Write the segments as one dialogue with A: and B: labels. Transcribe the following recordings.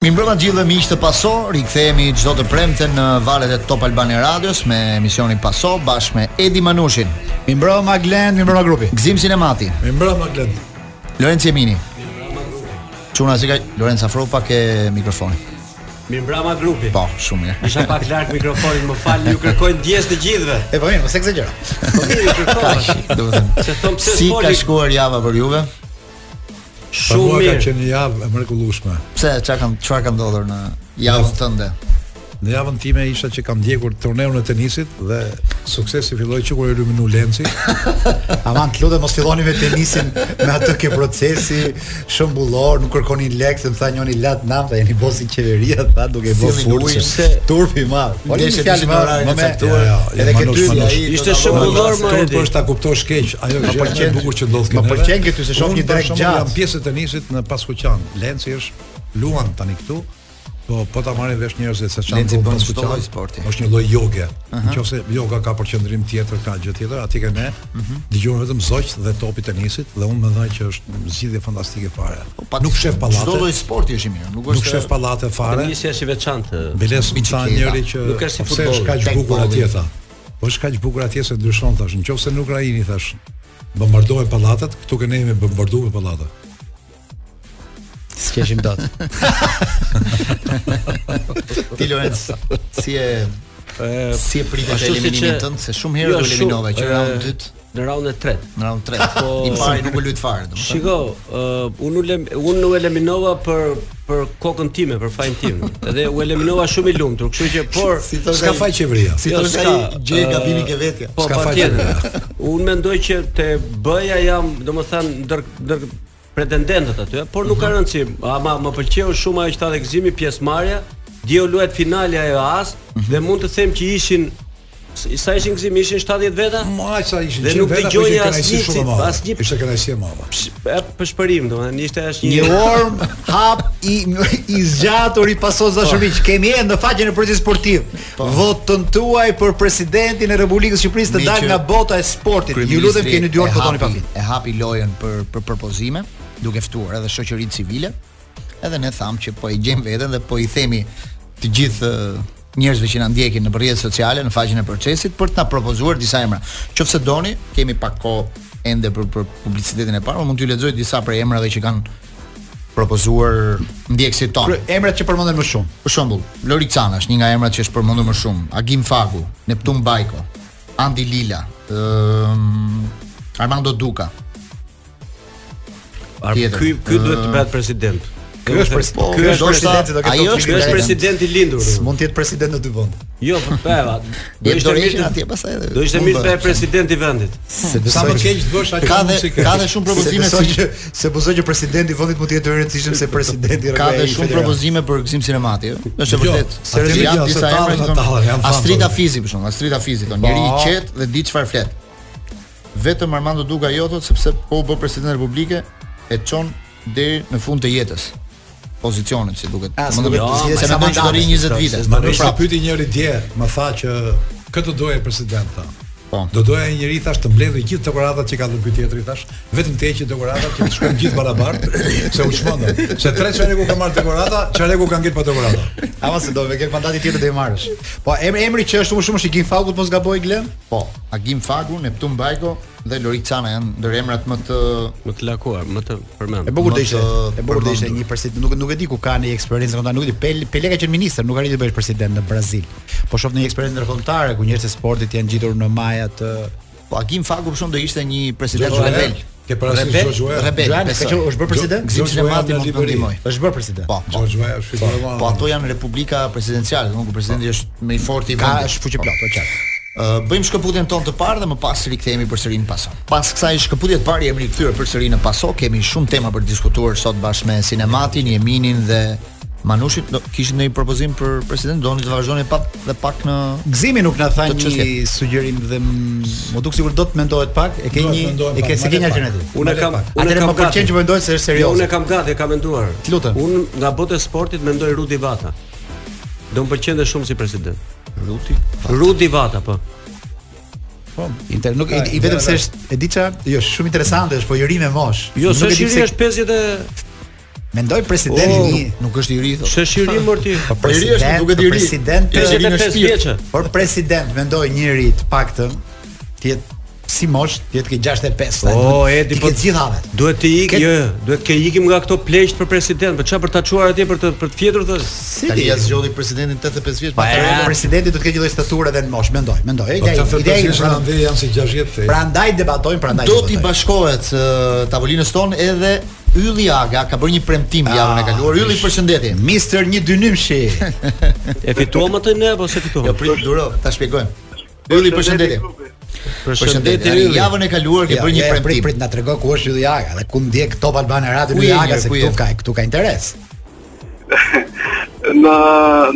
A: Mi mbrëma gjithë dhe miqë të paso, rikthehemi çdo të premte në valët e Top Albani Radios me emisionin Paso bashkë me Edi Manushin,
B: Mi mbrëma Glen, mi mbrëma grupi.
A: Gzim Sinemati,
C: Mi mbrëma Glen.
A: Lorenz Jemini. Çuna si ka Lorenz afro pak e mikrofonin.
D: Mirë mbrama grupi.
A: Po, shumë mirë.
D: Isha pak larg mikrofonit, më fal, ju kërkoj ndjes të gjithëve.
B: E po mirë, mos eksagjero.
D: Po mirë, ju kërkoj.
A: Domethënë,
D: Se thom pse
A: si ka
D: s'foli
A: shkuar java për juve?
C: Për
D: shumë
C: Po mua ka
D: mirë.
C: qenë një javë e mrekullueshme.
A: Pse çka kam çfarë ka ndodhur në javën tënde?
C: Në javën time isha që kam ndjekur turneun e tenisit dhe suksesi filloi që kur e luminu Lenci.
B: Aman të lutem mos filloni me tenisin, me atë ke procesi shembullor, nuk kërkoni lek, se më tha njëri lat nam, tha jeni bosi i qeveria, tha duke bërë
A: Sillni ujë,
B: furçë.
A: se-
B: Turpi i madh. Po një
A: Ndeshjet
B: fjalë
A: ishin
B: më
A: në orarin e
B: më me.
A: caktuar.
B: Jo, jo, Edhe ke
C: Manush,
B: dy
C: Manush.
B: ai.
D: Ishte
B: do ta
D: shumë
B: bëjmë.
D: bullor, më
C: Turp
D: Edi.
C: është ta kuptosh keq, ajo
B: Më
C: gjë është e
B: pëlqen-
C: bukur që ndodh
B: më
C: këtu.
B: pëlqen këtu se shoh një drek gjat.
C: Jam pjesë e tenisit në Paskuqan. Lenci është luan tani këtu. Po po ta marrin vesh njerëzit se çfarë
A: Lenci
C: ndodh
A: bën
C: në
A: çdo
C: Paskuqan.
A: lloj sporti.
C: Është një lloj joge. Nëse joga ka përqendrim tjetër, ka gjë tjetër, aty ke ne.
A: Mhm.
C: Dëgjojmë vetëm zogj dhe topi tenisit dhe unë mendoj që është zgjidhje fantastike fare. Nuk shef
A: Po, Çdo lloj
C: pallate.
A: sporti është i mirë, nuk
C: Nuk
A: është
C: shef pallate fare.
D: Tenisi Po është i veçantë.
C: Beles më tha
A: Bicikleta.
C: njëri që
D: Nuk është si
C: pse
D: futbolli,
C: është kaq
A: tek
C: bukur
A: bolli.
C: atje tha. Po është kaq bukur atje se ndryshon thash. Nëse në Ukrainë thash, bombardohen pallatet, këtu që ne jemi bombarduar me pallate.
B: S'keshim dot.
A: Ti Lorenz, si e si e pritet
D: ashtu si
A: eliminimin
D: që-
A: tënd se shumë herë
D: Jo,
A: do eliminove
D: shumë,
A: që
D: e, po,
A: round 2
D: Në raundën e tretë.
A: në round 3. I pari nuk u lut fare, domethënë.
D: Shiko, uh, unë u lem- unë u eliminova për për kokën time, për fajin tim. Edhe u eliminova shumë i lumtur, kështu që por
A: thoshte
C: S'ka
A: ai-
C: faj qeveria.
A: Si
D: Jo,
A: thoshte
D: s'ka,
A: ai, gjej
D: ë,
A: gabimin ke vetja.
D: Po
C: S'ka faqe.
D: patjetër. Unë mendoj që te bëja jam, domethënë ndër ndër pretendentët aty, eh, por nuk
A: Mhm.
D: ka rëndësi. Ama më pëlqeu shumë ajo që tha dhe gëzimi pjesëmarrja. Dje u luajt finalja e AS
A: Mhm.
D: dhe mund të them që ishin s- sa ishin gëzimi, ishin 70 veta.
C: Mo aq sa ishin
D: Dhe
C: qenë
D: nuk
C: veta, po
D: dëgjoj
C: ishte
D: asnjë
C: kënaqësi shumë e
D: cit-
C: madhe.
D: asnjë-
C: Ishte kënaqësi e madhe.
D: Psh, e, Për shpërim, domethënë ishte është
B: Një
D: një
B: orm hap i i zgjatur i pasos
A: Po,
B: dashumiq. Kemi edhe në faqen e procesi sportiv. Votën tuaj për presidentin e Republikës së Shqipërisë të
A: Mi që
B: dalë nga bota e sportit. Ju lutem
A: Kryeministri
B: keni dy orë po
A: e hapi-
B: votoni pa fit.
A: E hapi lojën për për propozime, duke ftuar edhe shoqërinë civile. Edhe ne tham që po i gjejmë veten dhe po i themi të gjithë ë, njerëzve që na ndjekin në rrjetet sociale, në faqen e procesit për të na propozuar disa emra. Qofse doni, kemi pak kohë ende për, për publicitetin e parë, unë mund t'ju lexoj disa prej emrave që kanë propozuar ndjekësit tonë.
B: Kry- Emrat që përmenden më shumë.
A: Për shembull, Lori Cana është një nga emrat që është përmendur më shumë. Agim Faku, Neptun Bajko, Andi Lila, ëm Armando Duka.
D: Ar-
A: tjetër.
D: ky ky duhet të bëhet president.
B: Ky është presidenti.
A: ky është presidenti, do ketë
B: Ai
A: konflikt
D: Ky
B: është
D: është
A: President.
D: president i lindur.
B: Mund të jetë president në dy vende.
D: Jo, po peva.
A: Do ishte mirë atje pastaj. edhe-
D: Do ishte
A: mund
D: mirë të
A: bëhet.
D: bëhet president i vendit.
B: Se
C: Sa më keq të bësh aq
A: Ka dhe
C: mund si ke.
A: ka dhe shumë propozime
B: se besoj
A: si
B: që se besoj që presidenti i vendit mund të jetë i rëndësishëm se presidenti i
A: ka dhe
B: Rrugës
A: shumë
B: Federal.
A: propozime për gëzim sinemati, ëh. Është e
C: Jo,
A: vërtet.
C: atë
A: Seriozisht
C: video
A: janë
C: se
A: disa
C: tallën,
A: emra që
C: tallën,
A: kanë.
C: janë fan po.
A: Astrita
C: tallën.
A: Fizi për shkak, Astrita Fizi thonë, njëri i qetë dhe di çfarë flet. Vetëm Armando Duka jo thot sepse po u bë president Republike e çon deri në fund të jetës pozicionet si duket.
B: Ah,
A: Më
B: s'duket
A: ndonjë-
B: si jetë
A: se
B: sa
A: mendon që do rri
B: mandate,
A: 20 vite. Pra,
D: s'do-
C: Manush
A: Prap,
C: më pyeti pra njëri dje, më tha që këtë doje president tha.
A: Po.
C: Do doja një njeri thash të mbledhë gjithë dekoratat që ka dhënë ky tjetri thash, vetëm të heqë dekoratat që të shkojnë gjithë barabart, se u çmendën. Se tre çareku ka marrë dekorata, çareku ka ngel pa dekorata.
B: Ama se do me ke mandati tjetër do i marrësh. Po emri emri që është më shumë shikim fakut mos gaboj Glen.
A: Po, Agim Fagu, Neptun Bajko dhe Lorik Cana janë ndër emrat më të
D: Më të lakuar, më të
B: E
D: përmend.
B: bukur
A: Më
B: do ishte,
A: të
B: e bukur do ishte
A: uh, përmendur.
B: një president, nuk nuk e di ku ka një eksperiencë ndonjë, nuk e di. Pel, Pele ka qenë ministër, nuk arriti të bëhet president në Brazil. Po shoh një eksperiencë ndërkombëtare ku njerëzit e sportit janë gjitur në maja të
A: Po Agim Fagu për shkak do ishte një president
C: Joshua
A: rebel.
C: Ke parasysh
A: Rebel,
C: Joshua?
A: rebel,
B: Joan,
A: besoj.
B: ka qenë- është bërë president?
A: Gzim
C: Joshua
A: Sinemati
C: në
A: mund të më
C: Liberi.
A: ndihmoj.
B: është bërë president.
A: Po, po.
C: George Weah është fitore e madhe.
A: Po ato janë republika presidenciale, domethënë ku presidenti është më i fortë i
B: Ka
A: vendit.
B: është fuqi plot, po qartë.
A: Ë, bëjmë shkëputjen tonë të parë dhe më pas rikthehemi përsëri në paso. Pas kësaj shkëputje të parë jemi rikthyer përsëri në paso, kemi shumë tema për të diskutuar sot bashkë me Sinematin, Jeminin dhe Manushin. Do kishit ndonjë propozim për president? Doni të vazhdoni pak dhe pak në
B: Gëzimi nuk na tha
A: Të çështje.
B: një sugjerim dhe m- më duk sikur do të mendohet pak, e ke
C: Duhet
B: një
C: mendohem
B: e ke
C: pak,
B: se ke
C: ma
B: një
C: le pak.
B: alternativë.
D: Unë kam, unë
B: Atëherë
D: kam
B: më pëlqen që mendoj se është
D: Jo,
B: serioze.
D: unë e kam gati, e kam menduar.
B: T'lutem.
D: Unë nga bota e sportit mendoj Rudi Vata. Do më pëlqente shumë si president.
A: Ruti.
D: Rudi Vata po.
B: Po, Inter, nuk i,
C: Ai,
B: i vetëm
C: da,
B: se
C: da.
B: është e di ça, jo shumë interesante është, po i ri me mosh.
D: Jo,
B: Nuk e
D: s'është
B: di
D: i
B: pse-
D: ri është 50 e
B: Mendoj presidenti
D: Oh,
B: një
A: Nuk është i ri thotë.
D: Shëshiri mërë ti
B: Po
A: Po i ri është,
B: president,
A: duket
B: po
A: i ri.
B: president,
A: Është i ri në
D: 55
A: shpirt.
D: vjeqë
B: por president, mendoj njëri të paktën të jetë si mosh, të jetë ke 65. tha,
D: O,
B: duhet-
D: Edi,
B: ti
D: po-
B: ke të gjithave.
D: Duhet të ikim,
B: Ket-
D: jo, jo, duhet ke ikim nga këto pleqt për president, për çfarë për ta çuar atje për të për të fjetur thos.
A: Tani ja zgjodhi presidentin 85 vjeç.
B: Po
A: pa
B: atëherë presidenti do të ketë një lloj stature edhe në mosh, mendoj, mendoj. E,
C: Po
B: ka
C: ta
B: ide-
C: thotë
B: ideja
C: që
B: pra-
C: ande janë si 60. Pra,
B: Prandaj debatojmë, prandaj.
A: Do t'i
B: debatojmë.
A: bashkohet ë, tavolinës tonë edhe Ylli Aga ka bërë një premtim javën e kaluar. Ylli përshëndetje.
B: Mister një dynymshi.
D: E fituam atë ne apo se fituam?
A: Jo prit duro, ta shpjegojmë. Ylli përshëndetje. Përshëndetje Ylli. Javën e kaluar ke
B: Ja,
A: bërë një
B: ja, Prit,
A: premtim.
B: prit na tregoj ku është Ylli Aga dhe ku ndjek Top Albana Radio
A: Ku
B: Ylli
A: je
B: Aga
A: një,
B: se
A: ku
B: këtu
A: je?
B: ka këtu ka interes.
E: në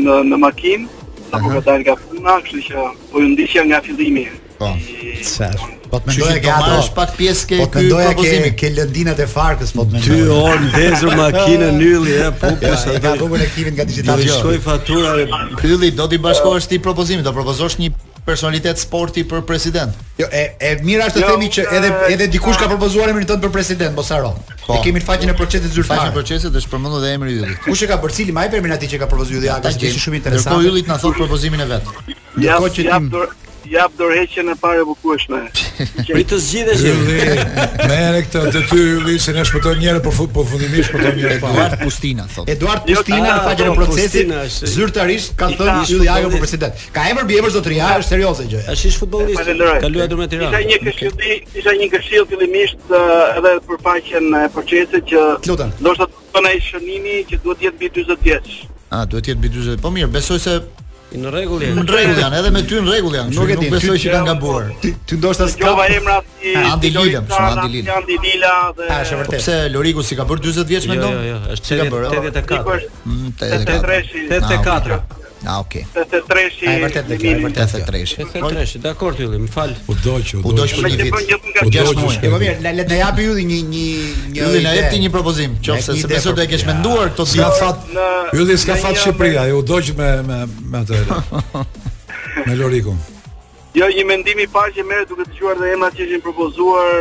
E: në në makinë apo po dal nga puna, kështu që po ju ndiqja nga fillimi.
A: Po.
B: Çfarë? Po
A: Kështu
B: të mendoja
A: që
B: ke ato.
A: Tomash pak pjesë ke
B: Po të
A: ky
B: mendoja ke
A: propozimi.
B: ke lëndinat e Farkës po të
D: Ty
B: mendoja.
D: orë ndezur makinën ylli, e
B: Ja,
D: pupus
B: e ka
D: atë.
B: rrugën e kimit nga
D: Do
B: digitali.
D: i shkoj fatura e
A: Ylli do t'i bashkohesh ti propozimit, do propozosh një personalitet sporti për president.
B: Jo, e e mira është të
E: Jo,
B: themi që edhe
E: e-
B: edhe dikush ka propozuar emrin tënd për president, mos haro.
A: Po.
B: E kemi në faqen e procesit
A: Faqja e
B: zyrtar.
A: procesit është përmendur dhe emri i Yllit.
B: Kush e ka bërë cili më herë emrin atij që ka propozuar Ylli Aga, që ishte shumë
A: Ndërkohë
B: interesant.
A: Yllit na thot propozimin e vet.
E: Jap
B: Ndërkohë që
E: jap
B: tim-
E: dor jap dorëheqjen e parë e bukurshme.
D: pritës zgjidhesh.
C: Ylli, merre këtë detyrë Ylli se ne shpëtojmë një herë për fut, po fundimisht shpëtojmë një herë
A: Eduard Pustina thot.
B: Eduard
E: Jo,
B: Pustina
D: ah,
B: në faqen e
D: po,
B: procesit
D: Pustina është-
B: zyrtarisht ka
D: I
B: thënë
D: thash,
B: Ylli Aga për
D: futbollist.
B: president. Ka emër bi emër zotëria, është serioze gjëja.
D: Është ish futbollist.
E: Falenderoj.
D: Ka luajtur me
E: Isha
D: Tiranë.
E: një këshill, isha një këshill fillimisht ë, edhe për paqen e procesit që
B: Lutem.
E: ndoshta të thonë ai shënimi që duhet të jetë mbi 40 vjeç.
A: Ah, duhet të jetë mbi 40. Po mirë, besoj se
D: Në rregull je.
A: në rregull janë, edhe me ty në rregull janë.
B: Nuk e di,
A: Nuk besoj
B: ty-
A: që kanë gabuar.
B: Ti ti ndoshta s'ka.
E: Gjova emra si
A: Andi
E: si Lori
A: Lila, për shembull,
E: Tana,
A: Andi Lila.
E: si Andi Lila dhe
B: Ah, është
A: Po
B: vërtet.
A: pse Loriku si ka bërë 40 vjeç
D: Jo,
A: mendon?
D: jo, jo, është
A: Si ka bërë?
D: 84.
A: Mm,
E: 83-shi.
D: 84.
A: Ah, okay.
E: 83-shi.
B: Ah, e vërtet, e
E: Limini.
B: vërtet.
A: 83-shi.
D: 83, dakor Ylli, më fal.
C: U doqë,
A: U doq për
E: Me
A: një
E: që bën
A: vit.
E: gjithë nga
C: Po,
A: Gjashtë
C: doqë,
A: muaj.
B: E po mirë, le le të japi Ylli një një një
A: Ylli na
B: ide.
A: jep ti një propozim,
B: Me
A: qofse
B: një
A: se
B: ide
A: besoj do e
B: për-
A: kesh
B: Ja.
A: menduar këto
C: S'ka
A: ditë.
C: fat.
E: Në-
C: Ylli s'ka
E: në
C: fat
E: një-
C: Shqipëria, ju doq me me me atë. Me Lorikun.
E: Jo, një mendim i parë që merr duke dëgjuar dhe emrat që ishin propozuar,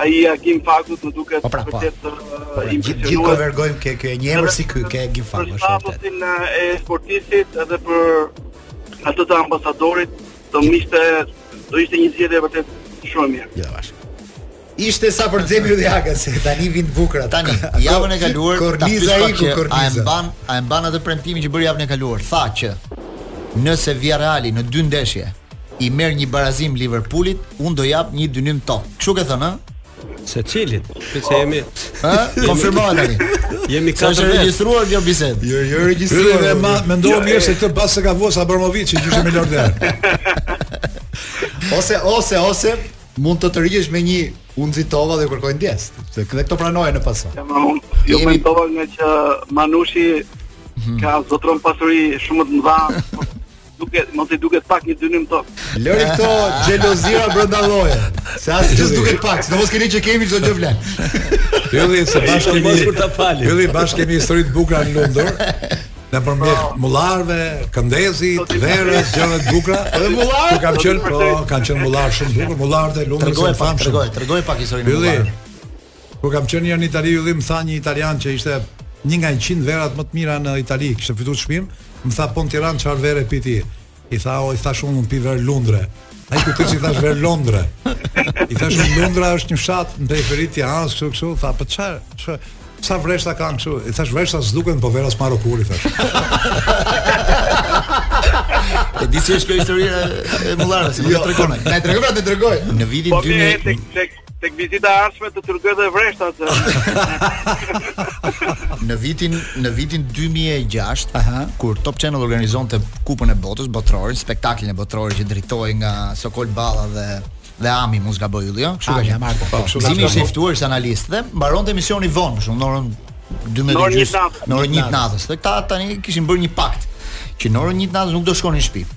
E: ai Hakim Fakut më duket uh,
B: Po pra, po.
E: vërtet
B: Po, pra, Gjithë gjithë konvergojmë ke ke një emër si ky, ke Gifar, është
E: Për
B: vërtet.
E: statusin e- e sportistit edhe për atë të ambasadorit, do më ishte do ishte një zgjedhje vërtet shumë e mirë.
B: Jo, bash. Ishte sa për Xhemi Udhjaka se tani vin të bukura.
A: Tani,
B: Ako,
A: javën e kaluar ta pyes
B: Korniza
A: pak
B: iku
A: që A e
B: Korniza.
A: mban, a e mban atë premtimin që bëri javën e kaluar? Tha që nëse Villarreali në dy ndeshje i merr një barazim Liverpoolit, unë do jap një dynim top. Kështu ke thënë,
D: Se cilit? Se jemi
A: ë? Ë? Konfirmohet tani.
D: jemi
A: Sa është
D: 4 vetë.
A: regjistruar kjo bisedë?
B: Jo, jo
C: Ylli dhe ma
B: regjistruar.
C: mendohem mirë se këtë pas se ka vuas Abramovic, që ishte milorder.
B: Ose ose ose mund të të rigjesh me një unë zitova dhe kërkoj ndjes. Se dhe këto pranohen në pason.
E: Ema, unë Jo
A: Jemi-
E: mendova nga që Manushi
B: Mhm.
E: ka zotron pasuri shumë të mëdha. por Duket, mos i duket pak një dynim top.
B: Lëri këto xhelozira brenda lloje. Se as ç'ës duket pak, sidomos keni që kemi çdo gjë vlen.
C: Ylli se bashkë
D: Ishte
C: kemi
D: mos kur ta falim.
C: Ylli bashkë kemi histori të bukura në Londër. Në
A: Po.
C: përmjet mullarve, këndezit, verës, gjëra të bukura. Edhe mullar. Kam qenë, po, kanë qenë mullar shumë bukur, mullarët e Londrës.
A: Tregoj
C: janë
A: pak,
C: famshëm.
A: tregoj, tregoj pak historinë.
C: Ylli.
A: Ylli.
C: Kur kam qenë një herë në Itali, Ylli më tha një italian që ishte një nga 100 verat më të mira në Itali, kishte fituar çmim, më tha po në Tiranë çfarë vere pi ti? I tha, o, i thash unë unë pi verë Lundre. Ai ku ti i thash verë Londre. I thash unë Lundra është një fshat në periferi të Tiranës, kështu kështu, tha, po çfarë? Çfarë? Sa vreshta kanë kështu? I thash vreshta s'duken, po veras marokuri thash.
A: E di si është kjo historia e mullarës, si më të tregon ai.
B: Na e tregoj, pra të tregoj.
A: Në vitin
E: Po mirë, e,
A: 2000
E: tek tek tek vizita e arshme të tërgoj dhe vreshtat. se-
A: në vitin në vitin 2006, kur Top Channel organizonte Kupën e Botës Botror, spektaklin e Botrorit që drejtohej nga Sokol Balla dhe dhe Ami mos gaboj ylli, jo? Kështu ka
B: Ami,
A: qenë.
B: Amarko, po,
A: Po,
B: kështu ka
A: Zimi
B: qenë.
A: ishte i ftuar si analist dhe mbaronte emisioni vonë, për shembull në orën 12
E: Në orën
A: gjys-
E: një të natës.
A: Në orën 1 të natës. Dhe këta tani kishin bërë një pakt që në orën 1 të natës nuk do shkonin në shtëpi.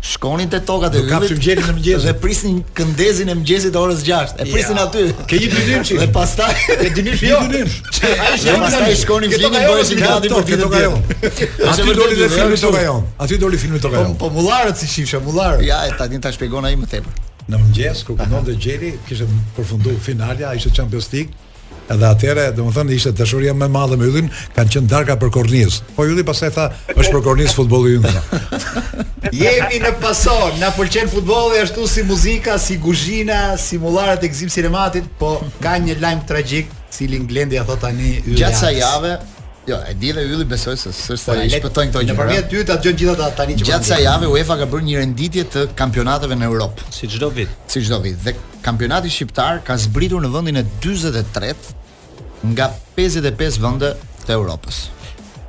A: Shkonin te tokat e
C: Do kapshim gjelin në mëngjes.
A: Dhe prisnin këndezin e mëngjesit të orës 6. E prisnin aty.
C: Ke një dynim që-
A: Dhe pastaj
B: E dynish
C: Jo,
B: jo. Ai
A: Dhe Jo, pastaj shkonin flinin
B: jo,
A: bëheshin gati për
C: këtë
A: ditën
C: kajon.
A: tjetër. Është
C: Aty
A: vërtet
C: doli dhe
A: ylli,
C: filmi
A: është
C: të kajon. Aty doli filmi të
B: Po,
C: kajon.
B: po mullarët si shifsha, mullarët.
A: Ja, e tani ta shpjegon ai më tepër.
C: Në mëngjes kur këndonte Gjeli, kishte përfunduar finalja, ishte Champions League. Edhe atëherë, domethënë ishte dashuria më e madhe me yllin, kanë qenë darka për kornizë. Po ylli pastaj tha, është për kornizë futbolli ynë. tha.
B: Jemi në pason, na pëlqen futbolli ashtu si muzika, si kuzhina, si mullarët e gzim sinematit, po ka një lajm tragjik, cili Nglendi ja thot tani Ylli
A: Gjatë sa
B: Anas.
A: jave, jo, e di dhe ylli besoj se s'është sa
B: Po,
A: i
B: le-
A: shpëtojnë këto gjëra.
B: Nëpërmjet ty ta dëgjon gjithë ata tani që
A: Gjatë
B: po
A: sa
B: ndjen.
A: jave UEFA ka bërë një renditje të kampionateve në Europë,
D: si çdo vit.
A: si çdo vit. Dhe kampionati shqiptar ka zbritur në vendin e 43 nga 55 vende të Europës.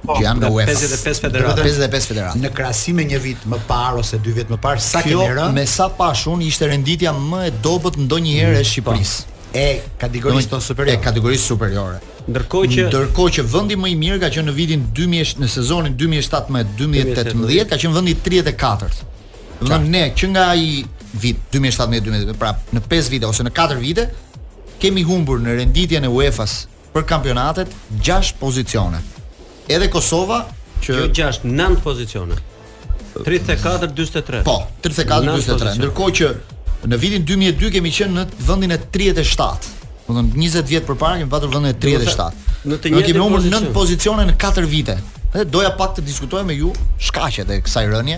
A: Që janë në
D: Nga
A: UEFA.
D: 55 federata.
A: 55 federata.
B: në krahasim me një vit më parë ose dy vjet më parë sa
A: Kjo
B: kemi rënë
A: me sa pash unë ishte renditja më e dobët ndonjëherë e Shqipërisë.
B: Po. e kategorisë
A: Domethënë,
B: tonë superiore.
A: E kategorisë superiore.
D: Ndërkohë që
A: Ndërkohë që vendi më i mirë ka qenë në vitin 2000 në sezonin 2017-2018 ka qenë vendi 34. Do të thënë ne që nga ai vit 2017-2018, pra në 5 vite ose në 4 vite kemi humbur në renditjen e UEFA-s për kampionatet 6 pozicione. Edhe Kosova që
D: Kjo 6 nën jo pozicione. 34 43.
A: po 34
D: Nën
A: 43.
D: pozicione.
A: Ndërkohë që në vitin 2002 kemi qenë në vendin e 37. Do të thënë 20 vjet përpara kemi patur vendin e 37.
D: Në të
A: Ne
D: njëjtin
A: kemi humbur 9
D: pozicion.
A: pozicione në 4 vite. Dhe doja pak të diskutoj me ju shkaqet e kësaj rënje.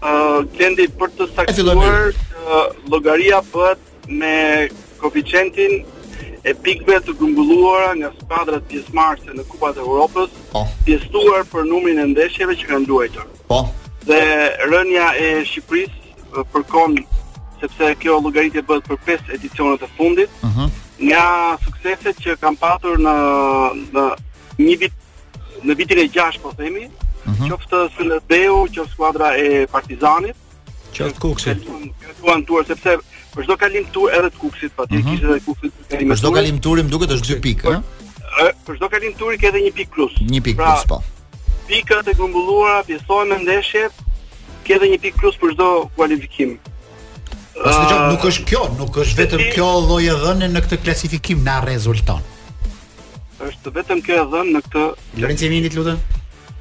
E: Ë, Klendi për të
A: E fillojmë
E: saktuar ë, llogaria bëhet me koeficientin e pikëve të grumbulluara nga skuadrat pjesëmarrëse në Kupat e Europës,
A: Po.
E: pjesëtuar për numrin e ndeshjeve që kanë luajtur.
A: Po.
E: Dhe rënja e Shqipërisë ë, përkon sepse kjo llogaritje bëhet për 5 edicionet e fundit
A: Mhm.
E: nga sukseset që kanë patur në në një vit në vitin e 6 po themi,
A: Mhm.
E: qoftë Skënderbeu, qoftë skuadra e Partizanit,
D: Qoftë Kuksi.
E: Kaluan tuar sepse për çdo kalim tur edhe të Kuksit patjetër kishte edhe Kuksit kalime
A: Për çdo kalim turi më duket është 2 pikë, ëh?
E: për çdo kalim turi ka edhe një pikë plus.
A: 1 pikë
E: Pra,
A: plus po.
E: Pikat e grumbulluara pjesëtohen në ndeshje ka edhe një pikë plus për çdo kualifikim.
B: Pas të
E: Ah,
B: gjatë nuk është kjo, nuk është vetëm kjo lloj e dhënë në këtë klasifikim na rezulton.
E: Është vetëm kjo e dhënë në këtë
B: Lorenzo Emini, të lutem.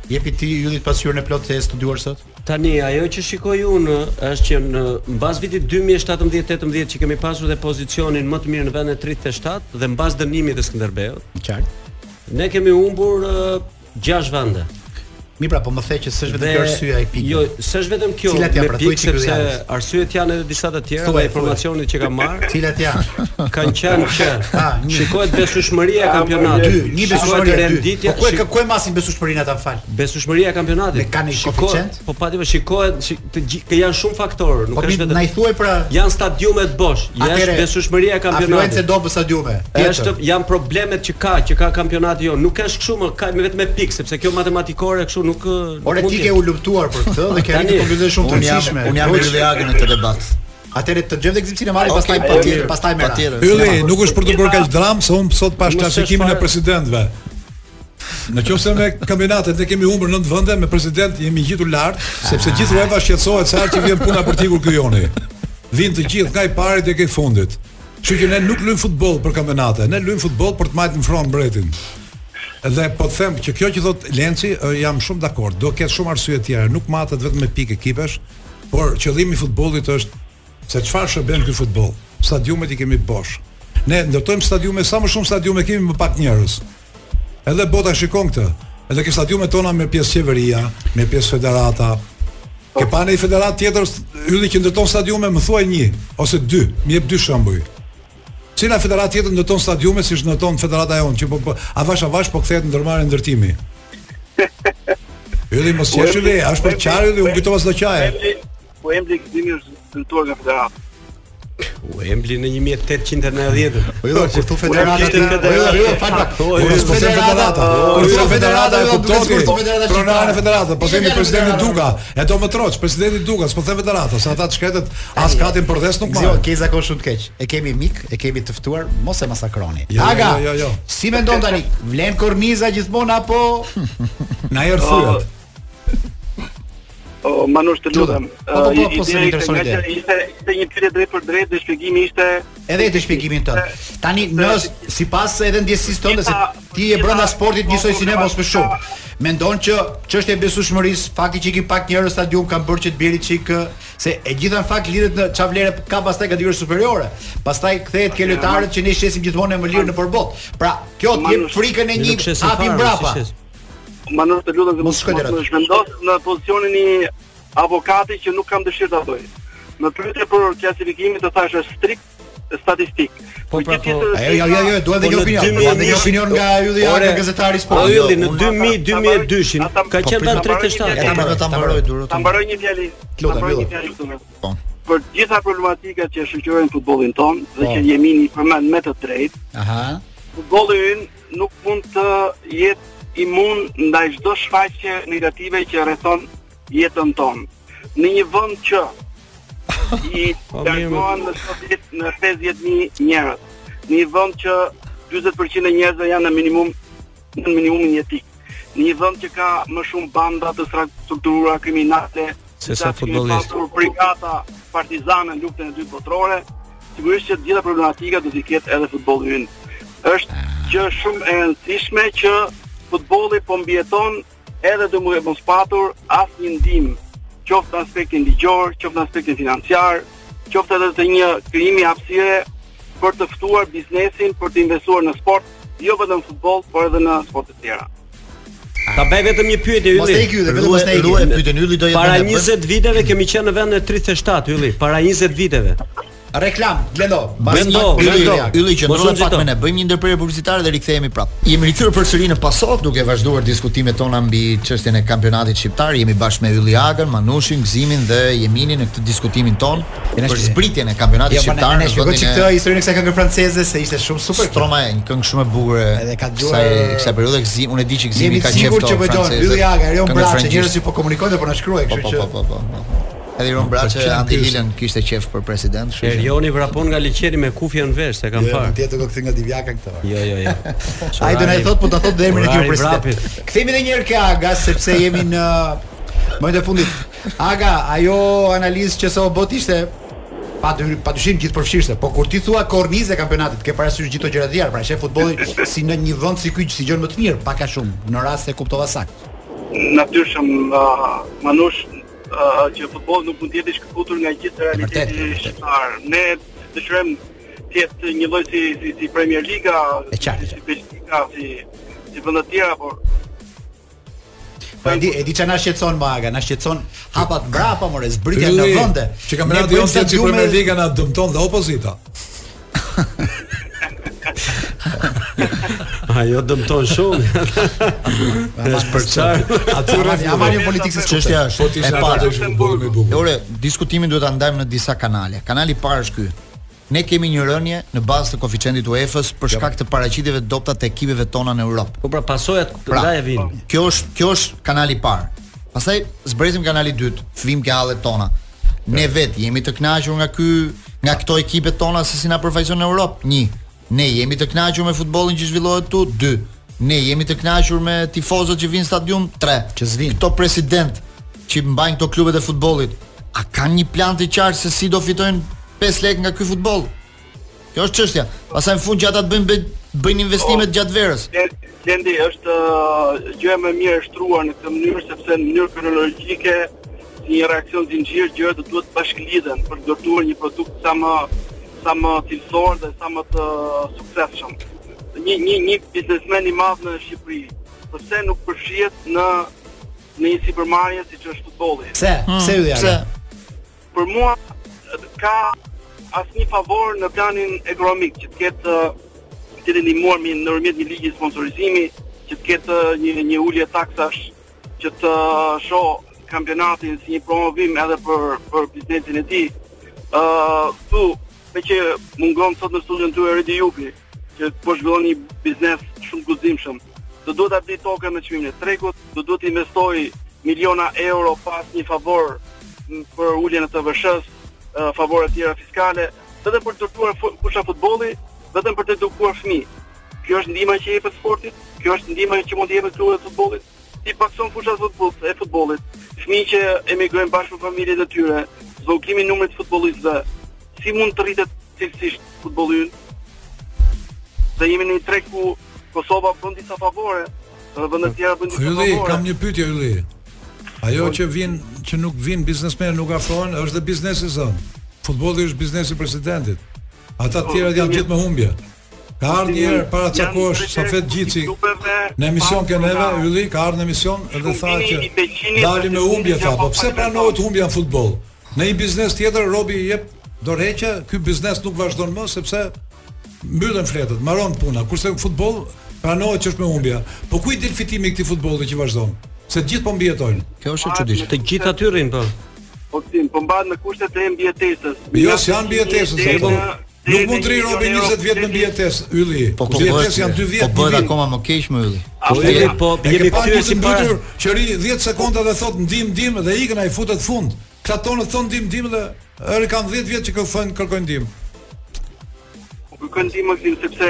B: Jepi ti yllit pasqyrën e plotë e studiuar sot.
D: Tani ajo që shikoj unë është që në mbas vitit 2017-18 që kemi pasur dhe pozicionin më të mirë në vendin e 37 dhe mbas dënimit të Skënderbeut,
B: Qartë.
D: ne kemi humbur 6 vende.
B: Mi pra, po më the që s'është vetëm kjo arsyeja e pikë.
D: Jo, s'është vetëm kjo.
B: Cilat janë
D: me
B: pra, thuaj
D: pikë
B: që ky
D: sepse
B: janë?
D: arsyet janë edhe disa të tjera
B: Thuaj,
D: nga informacionet që kam marrë.
B: Cilat janë?
D: Kanë qenë që
B: Ah, një.
D: shikohet besueshmëria e kampionatit.
B: Dy, një besueshmëri
D: Shikohet
B: e dy.
D: renditja,
B: Po ku e
D: shik-
B: ka ku e masin besueshmërinë ata fal?
D: besueshmëria e kampionatit.
B: Me kanë një
D: Shikohet-
B: koeficient?
D: Po patjetër shikohet, shik, të gji- kë janë shumë faktorë, nuk
B: Po mi
D: është
B: na i
D: vetëm.
B: thuaj pra.
D: Janë stadiumet bosh, janë
B: atëre,
D: besueshmëria e
B: Afluencë
D: kampionatit.
B: do për stadiume.
D: Është janë problemet që ka, që ka kampionati jo. Nuk është kështu më, ka me vetëm me pikë, sepse kjo matematikore kështu nuk nuk
B: Ore
D: mund
B: ti
D: t'jetë.
B: ke u lumtuar për këtë dhe ke
D: Tani,
B: arritur konkluzionë shumë të
A: Unë jam
B: rëndësishme.
A: unë jam me Liliagën në këtë debat.
B: Atëre të dëgjojmë dhe gzim sinemari,
A: Okej,
B: pastaj
A: po,
B: patjetër,
A: mirë,
B: pastaj më.
A: patjetër.
C: Ylli nuk është për të bërë kaq dramë se unë sot pash
D: Mos është
C: klasifikimin e
D: fare.
C: presidentëve. Në qoftë se me kampionatet ne kemi humbur 9 vende, me president jemi gjithu lart, sepse gjithë UEFA shqetësohet sa herë që vjen puna për tikur ky joni. Vinë të gjithë nga i pari tek i fundit. Kështu që ne nuk luajm futboll për kampionate, ne luajm futboll për të majtë në front mbretin. Dhe po të them që kjo që thot Lenci ë, jam shumë dakord. Do ketë shumë arsye tjera, nuk matet vetëm me pikë ekipesh, por qëllimi i futbollit është se çfarë shërben ky futboll. Stadiumet i kemi bosh. Ne ndërtojmë stadiume sa më shumë stadiume kemi më pak njerëz. Edhe bota shikon këtë. Edhe ke stadiumet tona me pjesë qeveria, me pjesë federata. Ke pa në federat tjetër s- hylli që ndërton stadiume, më thuaj një ose dy, më jep dy shembuj. Cila federat tjetër ndërton stadiume siç ndërton federata jonë, që po, po avash avash po kthehet në ndërmarrje ndërtimi. Ylli mos qesh ylli, është për qarë ylli, unë kujtova s'do qaje.
E: Embli, po Embli gëzimi është dëmtuar nga federata.
D: U embli në 1890.
B: Po jo, kur thu federata,
D: Ishte
B: po jo,
D: federata.
B: jo, fal pak.
D: Po,
B: Kur
D: jo,
B: thu
C: Po se
B: federata,
C: federata,
B: kur
C: kurse
B: thu federata,
C: federata e
B: jo, duke
C: kuptoni.
B: sikur thu
C: Pronarën
B: federata
C: e
B: shqiptare.
C: federatës, po
B: Ishte
C: themi
B: federata
C: presidenti
B: shqiptare.
C: Duka, e do më troç, presidenti Duka, s'po them federata, sa ata të shkretet as katin për dhes nuk
B: Zio,
C: marrin.
B: ke zakon shumë të keq. E kemi mik, e kemi të ftuar, mos e masakroni.
C: Jo, jo,
B: Aga,
C: jo, jo, jo.
B: si mendon tani? Vlen korniza gjithmonë apo
C: Na erë thyet.
E: O, Manush të
B: Lutem.
E: lutem.
B: Po, po, po,
E: Ë,
B: po, se më
E: ideja
B: intereson
E: ishte nga
B: ideja.
E: që ishte ishte një pyetje drejt për drejt dhe shpjegimi ishte
B: edhe të shpjegimin tënd. Tani në sipas edhe ndjesisë tënde se ti je brenda sportit njësoj si ne mos më shumë. Mendon që çështja e besueshmërisë, fakti që i ki pak njerëz në stadium kanë bërë që të bjeri çik ë, se e gjitha në fakt lidhet në çfarë vlere ka pastaj kategori superiore. Pastaj kthehet ke lojtarët që ne shesim gjithmonë në lirë në përbot. Pra, kjo të jep frikën e një
D: Nuk shesin
B: hapi
D: fare,
B: mbrapa.
D: si shes.
E: Manor të lutem
B: Mos shkoj deri aty.
E: Më vendos në pozicionin e avokati që nuk kam dëshirë ta bëj. Në pyetje për klasifikimin të thash është strikt statistik.
D: Po, pra, po,
B: Ajo jo jo jo, duhet edhe një
D: Po, në 2000
B: opinion, duhet edhe një opinion nga ylli ja,
D: Ore,
B: nga gazetari i
D: Po
B: sportit.
D: ylli në
E: unë
D: 2000
E: ata-
D: 2002-shin
E: ata-
D: ka
E: po,
D: qenë
E: prit-
D: në 37.
E: ata-
A: Ja ta mbaroj, ta mbaroj durrën.
E: Ta mbaroj një fjalë. ta
B: Lutem,
E: mbaroj një
B: lutem.
E: fjalë këtu.
A: Po.
E: Për të gjitha problematikat që shoqërojnë futbollin ton dhe
B: Po.
E: që Jemini përmend me të drejtë,
B: Aha.
E: futbolli ynë nuk mund të jetë imun ndaj çdo shfaqje negative që rrethon jetën tonë. Në një vend që i
D: Po, mirë,
E: largohen në çdo ditë në 50000 njerëz, në një vend që 40% e njerëzve janë në minimum në minimumin jetik. Në një vend që ka më shumë banda të struktura kriminale,
D: Se
E: të
D: sa
E: cilat kemi
D: futbollistë.
E: pasur brigada partizane në luftën e dytë botërore, sigurisht që të gjitha problematika do të ketë edhe futbolli ynë. Është që shumë e rëndësishme që futbolli po mbjeton edhe do mos mos patur asnjë ndihmë, qoftë në aspektin ligjor, qoftë në aspektin financiar, qoftë edhe të një krijimi hapësire për të ftuar biznesin, për të investuar në sport, jo vetëm në futboll, por edhe në sporte të tjera.
D: Ta bëj vetëm një pyetje
B: Mos
D: ylli.
B: te iky, dhe vetëm mos te
A: Rue, rue
B: iky.
A: pyetën ylli do jetë
D: Para
A: vend e bën.
D: 20 viteve kemi qenë në vendin e 37 ylli, para 20 viteve.
B: Reklam, Glendo.
D: Glendo,
A: Ylli,
D: Glendo.
A: ylli që
D: Mos u
A: ndrohet
D: nxito.
A: pak me ne, bëjmë një ndërprerje publicitare dhe rikthehemi prapë. Jemi rikthyer përsëri në Pasok duke vazhduar diskutimet tona mbi çështjen e kampionatit shqiptar. Jemi bashkë me Ylli Agën, Manushin, Gzimin dhe Jeminin në këtë diskutimin ton
B: Jena
A: për
B: shqiptar.
A: zbritjen e kampionatit
B: Jo, po ne
A: shqiptar
B: ne
A: në
B: shkoj
A: vendin
B: këtë
A: e
B: historinë e kësaj këngë franceze se ishte shumë super.
A: Stroma e një këngë shumë e bukur e
B: Edhe ka dëgjuar-
A: kësaj kësaj periudhe Gzim, unë e di që Gzimi
B: Jemi
A: ka
B: të
A: qejf
B: sigurt
A: to
B: që po don
A: francezët,
B: Ylli Aga, Rion
A: këngët
B: Braçe,
A: frangjisht.
B: njerëz që po komunikojnë dhe po na shkruajnë,
A: Po
B: kështu
A: po
B: që
A: po po po. po. Edhe Ron Braçe
C: pëlqen
A: Andi
C: ky-
A: Lilën kishte qejf për president, kështu që
D: Erioni vrapon nga liçeri me kufje në vesh, se kam
A: Po,
B: Jo,
D: parë.
B: Tjetër do këtë nga Divjaka këtë. orë.
D: Jo, jo, jo.
B: Ai do na i thot, po ta thot dhe emrin e tij
D: Orari
B: president.
D: vrapit.
B: Kthehemi edhe një herë ke Aga sepse jemi në momentin e fundit. Aga, ajo analizë që sa u bot ishte pa dy, pa dyshim gjithë përfshirëse, po kur ti thua kornizë e kampionatit, ke parasysh gjithë ato gjëra të tjera, pra shef futbollin si në një vend si ky si gjën më të mirë, pak a shumë, në rast se kuptova saktë.
E: natyrshëm uh, manush uh, që futbolli nuk mund të jetë i shkëputur nga gjithë
B: vërtet, e
E: realiteti
B: vërtet.
E: shqiptar. Ne dëshirojmë të jetë një lloj si, si si Premier Liga,
B: E qartë, e
E: si
B: qartë.
E: Belgjika, si si vende të tjera, por
B: Po e di, e di çka na shqetëson më Aga, na shqetëson hapat mbrapa, more zbritja në
C: Ylli,
B: vende.
C: Që kampionati
B: Ne
C: jonë se
B: bëjmë
C: që
B: stadiume-
C: Premier Liga na dëmton dhe opozita.
D: Ajo dëmton shumë. Është për çfarë?
C: Aty
B: Ama-
C: rreth.
B: ama një politikë se ç'është.
A: çështja
C: Po
A: është
C: ti
A: e
C: isha
A: para.
C: atë që futbolli më i bukur.
A: Ore, diskutimin duhet ta ndajmë në disa kanale. Kanali i parë është ky. Ne kemi një rënje në bazë të koeficientit UEFA-s për shkak të paraqitjeve të dobta të ekipeve tona në Europë.
D: Po pra pasojat
A: Pra,
D: ndaje vin.
A: kjo është kjo është kanali i parë. Pastaj zbresim kanali i dytë, flim ke hallet tona. Ne vetë jemi të kënaqur nga ky nga këto ekipet tona se si na përfaqëson në Europë. 1. Ne jemi të kënaqur me futbollin që zhvillohet këtu. 2. Ne jemi të kënaqur me tifozët që vinë në stadium. 3.
B: Që s'vinë.
A: Këto president që mbajnë këto klubet e futbollit, a kanë një plan të qartë se si do fitojnë 5 lekë nga ky futboll? Kjo është çështja. Pastaj në fund që ata të bëjnë bëjnë- bëjnë investimet gjatë verës.
E: Lendi është uh, gjë më mirë e shtruar në këtë mënyrë sepse në mënyrë kronologjike si një reaksion zinxhir gjërat do duhet bashkëlidhen për të ndërtuar një produkt sa më sa më cilësor dhe sa më të suksesshëm. Një një një biznesmen i madh në Shqipëri, pse nuk përfshihet në në një supermarket siç është futbolli?
B: Pse? Pse Ylli Aga?
A: Hmm, Pse?
E: për mua ka asnjë favor në planin ekonomik që të ketë të ketë ndihmuar me ndërmjet një ligji sponsorizimi, që të ketë ë, një një ulje taksash, që të shoh kampionatin si një promovim edhe për për biznesin e tij. ë tu me që mungon sot në studion tuaj Redi Jupi, që po zhvillon një biznes shumë guximshëm. Do duhet ta bëj tokën me çmimin e tregut, do duhet të investoj miliona euro pas një favor m- për uljen e TVSH-s, ë, favore të tjera fiskale, vetëm për të ndërtuar fu- fusha futbolli, vetëm për të edukuar fëmijë. Kjo është ndihma që jepet sportit, kjo është ndihma që mund të jepet klubeve të futbollit. Ti pakson fushat futboll- e futbollit, fëmijë që emigrojnë bashkë me familjet e tyre, zvogëlimi i numrit të futbollistëve, si mund të rritet cilësisht futbolli ynë? Dhe jemi në një treg ku Kosova bën disa favore, dhe vende të tjera bën disa
C: Ylli,
E: favore.
C: kam një pyetje Ylli. Ajo që vin që nuk vin biznesmenë nuk afrohen, është dhe biznesi zon. Futbolli është biznesi i presidentit. Ata të tjerët janë gjithë me humbje. Ka ardhur një herë para ca kohësh Safet Gjitsi në emision ke neve, Ylli ka ardhur në emision dhe tha që dalim me humbje tha, po pse pranohet humbja në futboll? Në një biznes tjetër Robi i jep dorëheqje, ky biznes nuk vazhdon më sepse mbyllen fletët, mbaron puna. Kurse në futboll pranohet që është me humbja. Po ku i del fitimi i këtij futbolli që vazhdon? Se të gjithë po mbijetojnë.
A: Kjo është e çuditshme.
D: Të gjithë aty rrin po.
E: Po tim, po mbahet me kushtet e mbijetesës.
C: Jo, si janë mbijetesës,
E: Deri
C: apo?
E: në-
C: Nuk
E: deri
C: mund
E: në
C: të rri Robi 20 vjet me
E: deri-
C: mbijetes, Ylli.
A: Po po
C: mbijetes
A: bëhet-
C: janë 2 vjet.
A: Po bëhet akoma më keq më ylli.
E: A,
D: Po
E: po,
D: jemi po
C: E
D: jemi
C: ke pa
D: kthyer
C: një
D: si
C: të
D: para.
C: mbytur që ri 10 sekonda dhe thot ndim ndim dhe ikën ai futet fund. Këta tonë thon ndim ndim dhe erë kanë 10 vjet që kërkojnë kërkojnë ndim.
E: Kërkoj ndihmë Gzim sepse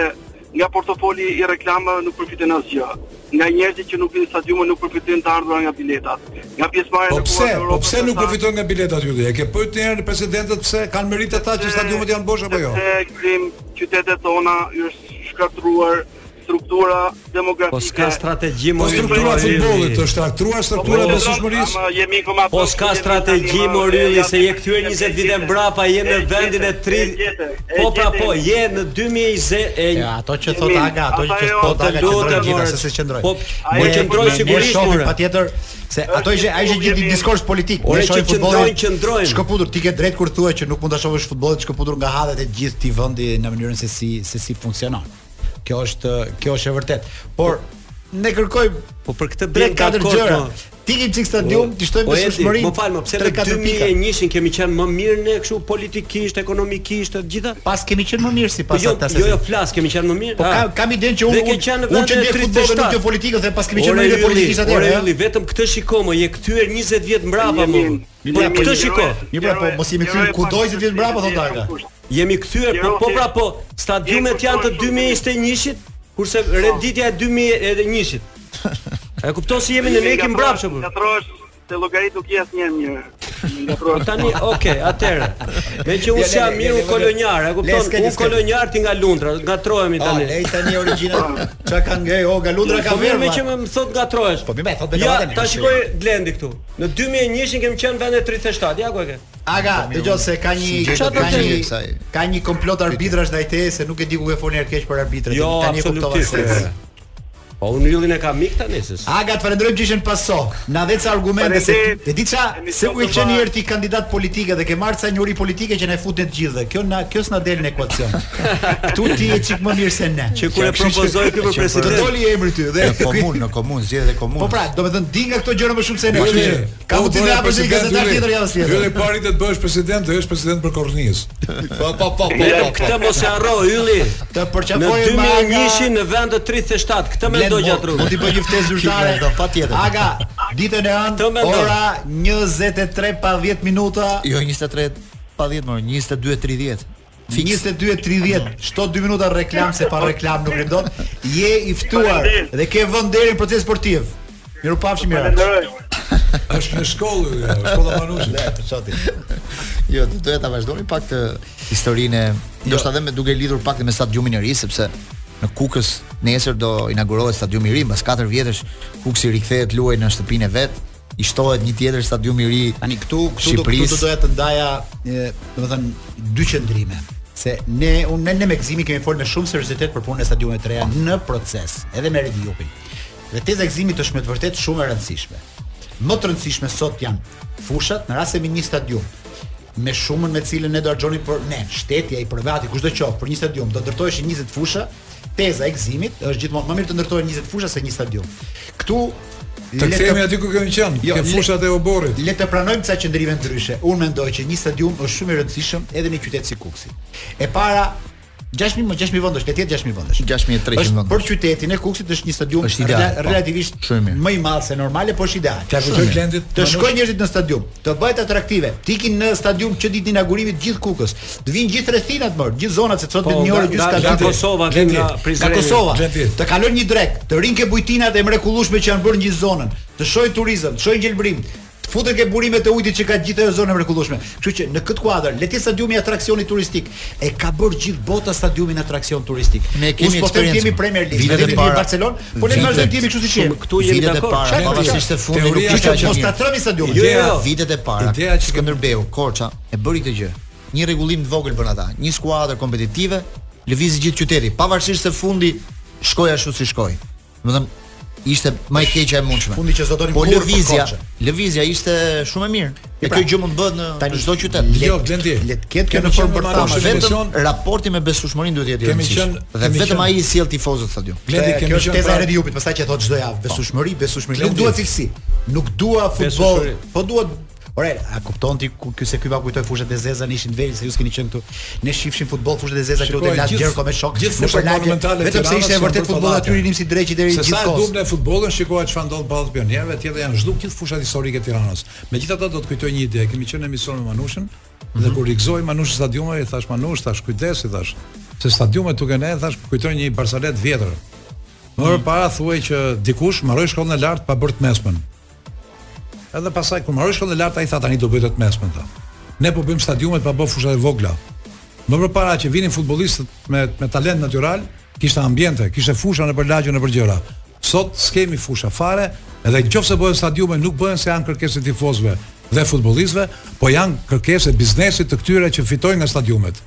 E: nga portofoli i reklamave nuk përfiten asgjë. Nga njerëzit që nuk vinë në stadiume nuk përfitojnë të ardhurat nga biletat. Nga pjesëmarrja
C: Po
E: në
C: pse?
E: Kupën e
C: Po
E: Evropës,
C: pse nuk
E: ata-
C: përfitojnë nga biletat ju? E ke pyet një herë presidentët pse kanë merit ata që stadiumet janë bosh apo jo?
E: Sepse Gzim qytetet tona është shkatruar struktura demografike.
D: Po s'ka strategji
C: Po
D: më
C: struktura e futbollit është aktruar struktura e besueshmërisë.
E: Po, Ama jemi koma
D: Po s'ka strategji më rylli se je kthyer 20 vite mbrapa, je në vendin e 30. Po pra po, je në 2020 e
B: Ja, ato që thot Aga, ato që
E: Ajo,
B: thot Aga,
D: jo, të
B: qëndrojnë
D: lutem
B: gjitha
E: qëndron
D: more.
B: se se qëndrojnë.
D: Po
E: Ajo
D: po
E: që
D: qëndroj
E: ne-
D: sigurisht
B: shohim
D: more.
B: patjetër se ato ishte ai ishte
E: futbolli
B: gjithë
E: jemi-
B: diskurs politik.
D: Ore,
B: Ne
D: Po, që
B: shohim
D: qëndrojnë,
B: futbollin.
D: qëndrojnë.
B: Shkëputur, ti ke drejt kur thua që nuk mund ta shohësh futbollin shkëputur nga hallet e gjithë ti vendi në mënyrën se si se si funksionon. Kjo është kjo është e vërtet. Por ne kërkojmë
D: Po për këtë
B: tre
D: blen ka
B: katër
D: kort.
B: gjëra.
D: mo.
B: Ti ke çik stadium, ti shtojmë
D: Po, Edi,
B: besueshmërinë.
D: Më fal, më pse në 2001-shin kemi qenë më mirë ne kështu politikisht, ekonomikisht, të gjitha?
B: Pas kemi qenë më mirë
D: Po
B: sipas
D: jo,
B: ata se.
D: jo, jo flas, kemi qenë më mirë.
B: Po
D: Ah.
B: kam kam idenë që unë
D: Dhe ke qenë në
B: unë që
D: vendin e
B: ndjej futbollin nuk
D: 37.
B: jo politikën dhe pas kemi qenë
D: Ore,
B: më mirë
D: Ylli,
B: politikisht
D: Ore
B: atëherë.
D: Ylli, vetëm këtë shiko më, je kthyer 20 vjet mbrapa më.
E: Jemi-
D: Po
E: jemi
D: këtë
E: heroe-
D: shiko.
B: Mirë, pra, po,
E: heroe-
B: mos jemi këtu
E: heroe
B: kudo
E: pa
B: 20 vjet mbrapa, thot Aga.
E: kusht.
D: Jemi kthyer po, po pra po, stadiumet janë të 2021-shit, kurse renditja e 2001-shit. E kupton se jemi në
E: Nga
D: nekin mbrapsht
E: trosh- Nga
D: po.
E: trosh, se llogarit nuk jes një mirë. Nga trosh.
D: Tani, okay, atëherë. Me që
B: Ja,
D: unë
B: le,
D: jam
B: le,
D: mirë
B: le,
D: unë
B: le,
D: kolonjar, e
B: le,
D: kupton?
B: s'ke,
D: Unë
B: s'ke.
D: kolonjar ti nga lundra, ngatrohemi
B: Ah,
D: tani.
B: lej tani origjinal. Çka kanë ngrej? O, Galundra ka
D: Po mirë
B: vërë.
D: me
B: ma.
D: që më më thot ngatrohesh.
B: Po, mirë, me thot me
D: Ja,
B: gabate,
D: ta
B: mirë,
D: shikoj Glendi këtu. Në 2001-shin kemi qenë vende 37, ja ku e ke?
B: Aga,
C: Po,
B: dëgjoj se ka
A: Si
B: një
A: gjej
B: ka
A: do të gjej
B: një
A: kësaj.
B: ka një komplot arbitrash ndaj teje se nuk e di ku e foni herë keq për arbitrat.
D: Jo,
B: tani e kuptova
D: absolutisht.
B: se.
D: Po unë yllin e kam mik tani se.
B: Aga, të falenderojmë që ishin paso. Na dhe ca argumente se
E: Faleminderit.
B: e di ça se
E: Emision
B: ku i
E: të
B: qenë
E: mbar.
B: herë ti kandidat politike dhe ke marrë ca njëri politike që na e futën të gjithë. dhe Kjo na kjo s'na del në ekuacion. Këtu ti je çik më mirë se ne.
D: Që kur e propozoi ky për
B: Të
D: president.
B: doli emri ty dhe
A: Në
C: po,
A: komunë, Jo, po, në komunë, zgjedhje komunë.
B: Po pra, do të thënë di nga këto gjëra më shumë se ne.
C: Ylli,
B: Kështu që ka
C: po
B: mundësi të
C: bëre
B: hapësh një
C: president
B: gazetar
C: Ylli.
B: tjetër javës
C: Ylli
B: tjetër.
C: po arritet të bësh president, do jesh president për kornizë.
A: po po po.
D: Ja, këtë mos e harro ylli.
B: Të
D: Në
B: përqafojë me Aga.
D: 2001-shin në vend të 37, këtë
B: Blen,
D: mendoj
B: mo-
D: gjatru.
B: Mund t'i bëj një ftesë zyrtare.
A: Kikë, patjetër.
B: Aga, ditën e anë,
D: Të mendoj.
B: ora 23 pa 10 minuta.
A: Jo 23 pa 10 më, 22 30. Fix.
B: 22:30, shto 2 minuta reklam se pa reklam nuk rindon. Je i ftuar dhe ke vënë deri në proces sportiv. Miru pafshim mirë.
E: Falenderoj.
C: Është në shkollë, Ylli, është shkolla Manushit.
B: Çoti.
A: Jo, do doja ta vazhdoni pak të historinë, ndoshta edhe me duke lidhur pak dhe me stadiumin e ri sepse në Kukës nesër do inaugurohet stadiumi i ri, mbas 4 vjetësh Kuksi rikthehet luaj në shtëpinë e vet, i shtohet një tjetër stadium i ri.
B: Tani këtu këtu do
A: Shqipërisë.
B: këtu do doja të ndaja, e, domethënë dy qendrime se ne unë ne, ne me Gzimi kemi folur me shumë seriozitet për punën e stadiumeve të reja në proces, edhe me Redi Jupin. Dhe teza e Gzimit është me të vërtet shumë e rëndësishme. Më të rëndësishme sot janë fushat në rast se me një stadium me shumën me cilën ne do arxhonim për ne, shteti ai privati, kushdo që për një stadium do ndërtoheshin 20 fusha, teza e Gzimit është gjithmonë më mirë të ndërtohen 20 fusha se një stadium. Këtu
C: Të
B: le
C: kthehemi aty ku kemi qenë,
B: Jo,
C: ke
B: le-
C: fushat e oborrit.
B: Le të pranojmë ca qëndrime ndryshe. Unë mendoj që një stadium është shumë i rëndësishëm edhe në qytet si Kuksi. E para 6000 më 6000 vendesh, le të jetë 6000 vendesh.
A: 6.300
B: Është
A: vendesh.
B: Për qytetin e Kuksit është një stadium
A: Është ideal,
B: rela-
A: po.
B: relativisht
A: Shumë i mirë.
B: më i madh se normale, por është ideal.
C: T'ja kujtoj
A: Shumë.
C: Glendit.
B: Të
C: Manush?
B: shkojnë njerëzit në stadium, të bëhet atraktive. Të ikin në stadium që ditën e inaugurimit të gjithë Kukës. Të vinë gjithë rrethinat më, gjithë zonat se sot
D: Po,
B: vetë një orë
D: nga-
B: gjysmë
D: nga-
B: ka
D: nga
B: ditë.
D: Kosova, aty
B: Gjendi.
D: nga Prizreni.
B: Nga Kosova.
C: Gjendi.
B: Të kalojnë një drek, të rinë ke bujtinat e mrekullueshme që janë bërë në gjithë zonën, të shohin turizëm, të shohin gjelbrim, të Futen ke burimet e ujtit që ka gjithë ajo zonë e mrekullueshme. Kështu që në këtë kuadër, le të jetë stadiumi i atraksionit turistik. E ka bërë gjithë bota stadiumin atraksion turistik.
A: Ne kemi
B: Unë s'po them
A: eksperiencë,
B: kemi
A: më.
B: Premier League,
A: Vitet
B: ne
A: e
B: kemi
A: para-
B: Barcelona, po ne
A: vitet-
B: vazhdojmë kështu siç jemi.
D: Këtu jemi
A: Vitet e
D: dakord.
A: para,
D: Shef,
A: pavarësisht se fundi nuk
C: Teoria
A: ishte
B: Kështu
A: aq
B: që po
A: e
B: mos ta
A: mirë.
B: trëmi stadiumin.
D: Jo,
C: Ideja-
D: jo.
A: Vitet e para,
C: Ideja që-
A: Skënderbeu, Korça e bëri këtë gjë. Një rregullim të vogël bën ata, një skuadër kompetitive, lëvizi gjithë qyteti, pavarësisht se fundi shkoi ashtu si shkoi. Domethënë ishte më e keqja e mundshme.
B: Fundi që s'do donim
A: po
B: kurrë për
A: lëvizja,
B: Korçën.
A: lëvizja ishte shumë e mirë. E
B: pra,
A: kjo gjë mund bëhet në
B: tani-
A: çdo qytet.
C: Jo, Blendi.
B: le të ketë kjo
C: kemi
B: në
C: qenë
B: formë
C: me
A: Po
B: bërë
C: Marama
B: famshë.
C: në
A: vetëm
C: emision,
A: raporti me besueshmërinë duhet të jetë i
C: Kemi
A: rëndësishëm.
C: qenë-
A: Dhe
C: kemi
A: vetëm
C: qenë-
A: ai i sjell tifozët stadium.
C: Blendi
B: Kjo
C: kemi
B: është
C: qenë
B: teza e
C: prapë-
B: Rediupit, pastaj që thotë çdo javë, besueshmëri, besueshmëri.
C: pra-
B: Nuk
C: Po. Blendi.
B: dua cilësi, nuk dua futboll,
D: Besueshmëri.
B: po dua Ore, a kupton ti ku ky se ky va kujtoj fushat e zeza në ishin vel se ju s'keni qenë këtu. Ne shifshim futboll fushat e zeza këtu
C: Shikoj,
B: te Las
C: gjithë-
B: Gjerko me shok.
C: gjithë
B: në
C: fushat
B: përlagje,
C: monumentale të
B: Vetëm se
C: Tiranës
B: ishte
C: janë
B: vërtet
C: për
B: futboll aty
C: pallate.
B: nim si dreqi deri
C: Se
B: gjithë
C: sa
B: kohës.
C: dum në futbollën shikohet çfarë ndodh ballat pionierëve, tjetër janë zhduk gjithë fushat historike të Tiranës. Megjithatë do të kujtoj një ide, kemi qenë në emision me Manushin dhe kur rigzoi Manushi stadiumin, i thash Manush, thash kujdes, i thash se stadiumet tuk e ne, thash kujtoj një Barsalet vjetër. Më orë para thuaj që dikush mbaroi shkollën e lartë pa bërë të mesmën. Edhe pasaj kur mbaroi shkollën e lartë ai tha tani do bëj të mesmën tha. Ne po bëjmë stadiumet pa bërë fushat e vogla. Më përpara që vinin futbollistët me me talent natyral, kishte ambiente, kishte fusha në përlagje në përgjëra. Sot s'kemi fusha fare, edhe nëse bëhen stadiume nuk bëhen se janë kërkesë e tifozëve dhe futbollistëve, po janë kërkesë e biznesit të këtyre që fitojnë nga stadiumet.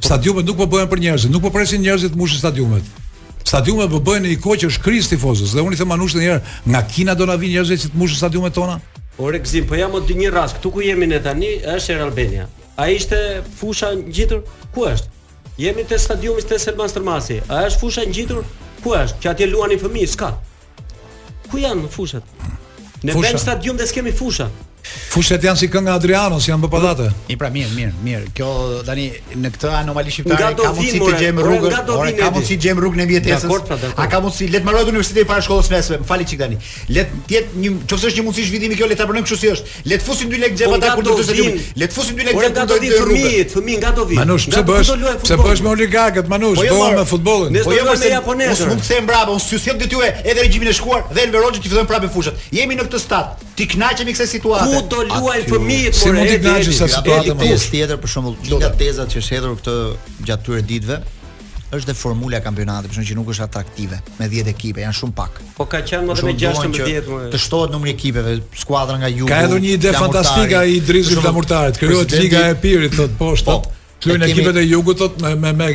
C: Stadiumet nuk po bëhen për njerëzit, nuk po presin njerëzit të mushin stadiumet. Stadiumet po bëhen në një kohë që është krizë tifozës dhe unë i them anushit një herë, nga Kina do na vinë njerëzit që të mushin stadiumet tona?
D: Ore gzim, po jam o dy një rast, këtu ku jemi ne tani është Air Albania. A ishte fusha ngjitur? Ku është? Jemi te stadiumi te Selman Stërmasi. A është fusha ngjitur? Ku është? Që atje luani fëmijë, s'ka. Ku janë fushat? Ne
C: Fusha.
D: vend stadium dhe s'kemi fusha.
C: Fushat janë si kënga e Adrianos, janë bë pallate.
B: I pra mirë, mirë, mirë. Kjo tani në këtë anomali
D: Nga
B: shqiptare
D: do
B: ka mundësi
D: vinë,
B: të
D: more,
B: gjejmë
D: more,
B: rrugën,
D: nga do
B: ore
D: vinë,
B: ka
D: Edi.
B: mundësi të gjejmë rrugën e mjetesës.
D: Dakord, pra, dakord.
B: A ka mundësi le të mbaroj universitetin para shkollës mesme, më fali çik tani. Le të të jetë një, nëse është një mundësi zhvillimi kjo le ta pranojmë kështu si është. Le të fusim 2 lekë xhep
D: Po
B: ata
D: nga
B: kur
D: do
B: do të
D: vinë.
B: stadiumin. Le të fusim 2 lekë
D: Ore
B: xhep
D: nga
B: kur
D: do
B: do të
D: vinë
B: jetë rrugën.
D: fëmijët, fëmijë nga do vinë.
C: Manush,
D: Nga
C: pse
D: do-
C: bësh?
D: ku do luajnë
C: Pse
D: futboll?
C: bësh me oligarkët, Manush?
B: Po jo,
C: Bëhem
B: more.
C: me futbollin.
D: Ne
B: Po jo
D: S'do
B: mos
D: luajmë me japonezër.
B: Mos mund të them bravo, unë s'ju sjell detyrë edhe regjimin e shkuar dhe Elveroxhi ti fillojnë prapë fushat. Jemi në këtë stat. Ti knaqemi kësaj situate.
D: Ku do luajnë fëmijët?
C: Si
D: more,
C: mund t'i
D: Edi,
C: knaqesh
D: Edi?
A: po
C: sa
A: Edi
C: situatë më
A: pjesë tjetër për shembull, një nga
B: Lutem.
A: tezat që është hedhur këtë gjatë këtyre ditëve është dhe formula e kampionatit, për shkak që nuk është atraktive me 10 ekipe, janë shumë pak.
D: Po ka qenë më
A: Për
D: dhe me
A: shembull, duan
D: 16
A: që
D: vjet më.
A: Të shtohet numri i ekipeve, skuadra nga Juve.
C: Ka edhe një ide fantastike ai Idrisi Flamurtarit. Krijohet Liga e Pirit thot poshtat.
A: Po,
C: Kryejnë
A: e kemi-
C: ekipet e jugut thot me me me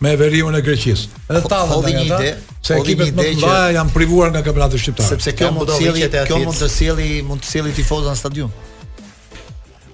C: me veriun e Greqisë. Edhe
A: Ho-
C: tallën
A: Po, hodhi
C: nga
A: një
C: ata,
A: ide,
C: se
A: hodhi një
C: ekipet më
A: ide
C: të
A: që-
C: mëdha janë privuar nga kampionati shqiptar.
A: sepse kjo
B: Janë
A: mund të
B: budalliqet
A: sjellë,
B: e
A: kjo
B: atit.
A: mund të sjellë, mund të sjellë tifozën në stadium.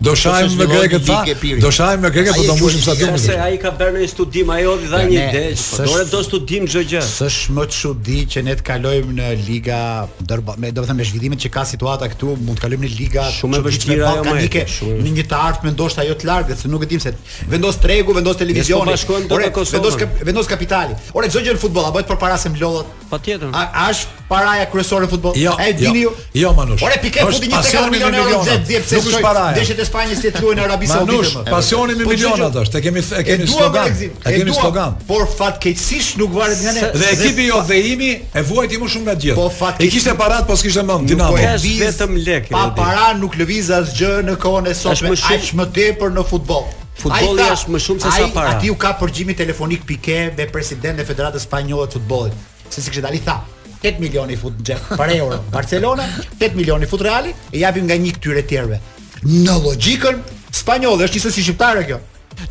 C: do shajm
A: sepse
C: me
A: zhvillohet
C: grekët
A: një
C: tha,
A: ligë e Pirit.
C: do shajm me grekët po
A: Ai
C: do
A: e
C: mbushim
A: quajti
C: stadiumin.
D: Ose ai ka bërë një studim, ajo i dha
A: Ja,
D: një
A: ne,
D: ide. po,
A: s'është-
D: Ore do studim çdo gjë.
B: S'është më të çudi që ne të kalojmë në liga ndërba, me do të thënë me zhvillimet që ka situata këtu, mund të kalojmë në liga
D: Shumë e
B: çuditshme,
D: vështira ajo,
B: balkanike,
D: mate, shumë e
B: në një të ardhmë ndoshta ajo të largët, se nuk e dim se vendos tregu, vendos
D: Ne s'po
B: televizioni,
D: bashkojmë po dot me Kosovën.
B: vendos kap, vendos kapitali. Ore çdo gjë në futboll, a bëhet përpara se mlodhet?
D: Patjetër.
B: A, a është paraja kryesore në futboll?
C: Jo,
B: e dini
C: jo,
B: ju?
C: jo, Manush.
B: Ore Piqué
C: Është
B: futi
C: pasioni
B: 24
C: me
B: milionë euro
C: miliona.
B: xhep, djep se
C: Nuk është paraja.
B: Deshet e Spanjës ti luajnë në Arabi
C: Manush,
B: Saudite. më.
C: pasioni me
B: Po, çdo gjë-
C: milionat është, e kemi e kemi
B: duam
C: slogan.
B: Alexin,
C: E kemi
B: duam,
C: slogan.
B: Por fatkeqësisht nuk varet nga ne.
C: Dhe ekipi jo dhe imi e vuajti më shumë nga gjithë.
B: Po, fatkeqësi-
C: I kishte parat, po s'kishte mend.
D: Nuk
C: Dinamo.
D: po e-
B: lëviz
D: Është vetëm lek,
B: Pa
D: Rudi.
B: para nuk lëviz asgjë në kohën e sotme.
D: më shumë-
B: Aq më tepër në futboll.
D: Futbolli
B: Ai tha-
D: është më shumë se sa
B: ai-
D: para.
B: Aty u ka përgjimi telefonik Piqué me presidentin e Federatës Spanjolle të Futbollit. Se si kishte dali tha 8 milioni i fut në xhep për euro Barcelona, 8 milioni i fut Reali, e japim nga një këtyre tjerëve. Në logjikën spanjolle është njësoj si shqiptare kjo.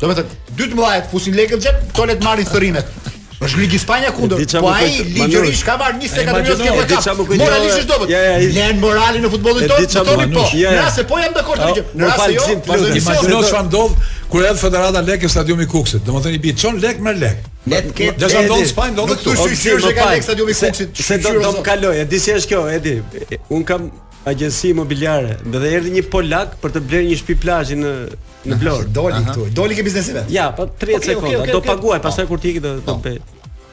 B: Do të thotë, dy të mëdha fusin lekët në xhep, tolet marrin thërrimet. Është Ligi Spanja
D: E di
B: kundër,
D: qa
B: po
D: më
B: ai
D: kujto-
B: ligjërisht ka marrë 24
C: Imagjino,
B: milionë
D: e di qa më
B: lekë.
D: kujto-
B: Moralisht është dobët.
D: Ja, ja, i-
B: Len moralin në futbollin
D: E
B: tonë,
D: di qa
B: të thoni
D: më-
B: po.
D: Ja,
B: Në
D: ja.
B: rast se po jam dakord me
D: O,
B: gjë.
D: më
B: Në rast
D: fal,
B: se jo,
D: Gzim,
B: vazhdoj
D: lutem.
B: mision.
C: Imagjino çfarë ndodh kur erdhi Federata Lek e stadiumi Kuksit. Domethënë i bi çon lek me lek.
B: Le të ketë-
C: Dhe sa ndodh
D: Edi,
C: në Spanjë ndodh
B: nuk
C: këtu.
B: thuaj
D: Opsi,
B: që
D: më
B: ka
D: fal,
B: lek stadiumi i
D: se-
B: Kuksit,
D: Se do
B: shqyrë
D: do
B: o
D: më
B: zot.
D: kaloj, e di si është kjo, Edi. E- Un kam agjenci imobiliare, dhe erdhi një polak për të blerë një shtëpi plazhi në në Vlorë.
B: Doli këtu, doli ke biznesi vet.
D: Ja, po 30
B: Okej, okej,
D: sekonda,
B: okej,
D: do
B: okej.
D: paguaj, pastaj kur ti iki do
A: Po.
D: të pe.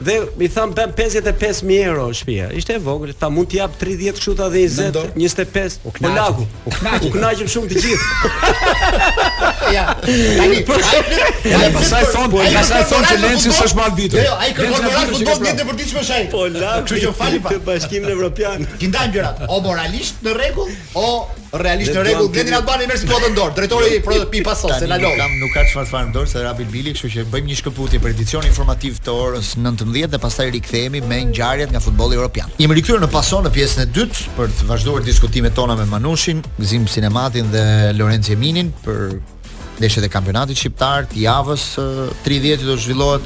D: Dhe i tham bëm 55000 euro shtëpia. Ishte e vogël, tha mund t'i jap 30 kështu ta dhe 20,
B: Mendo.
D: 25.
B: U knaqëm,
D: Polaku.
B: u knaqëm.
D: U knaqëm shumë të gjithë.
B: Ja. Tani,
C: Edhe pastaj thon,
B: Po, ai
C: pastaj
B: kërkon
C: thon që
B: moral në
C: Lenci
B: futboll?
C: s'është më arbitër.
B: Jo, jo, ai kërkon
C: Lenci
B: moral
C: arbitër
B: futboll
C: që ka
B: ditë e përditshme shaj.
D: Polaku.
B: Kështu që fali pa.
D: Të Bashkimin Evropian.
B: Ti ndajmë gjërat, o moralisht në rregull, o realisht në
D: Ne
B: rregull
D: duam
B: Blendi
D: t'i-
B: Albani merr si potën dorë. Drejtori i prodhë pi pasos se
A: Tani
B: na
A: nuk
B: lodh.
A: kam nuk ka çfarë farë në dorë se Rabil Bili, kështu që bëjmë një shkëputje për edicionin informativ të orës 19 dhe pastaj rikthehemi me ngjarjet nga futbolli evropian. Jemi rikthyer në pason në pjesën e dytë për të vazhduar diskutimet tona me Manushin, Gzim Sinematin dhe Lorenz Jeminin për ndeshjet e kampionatit shqiptar të javës eh, 30 do zhvillohet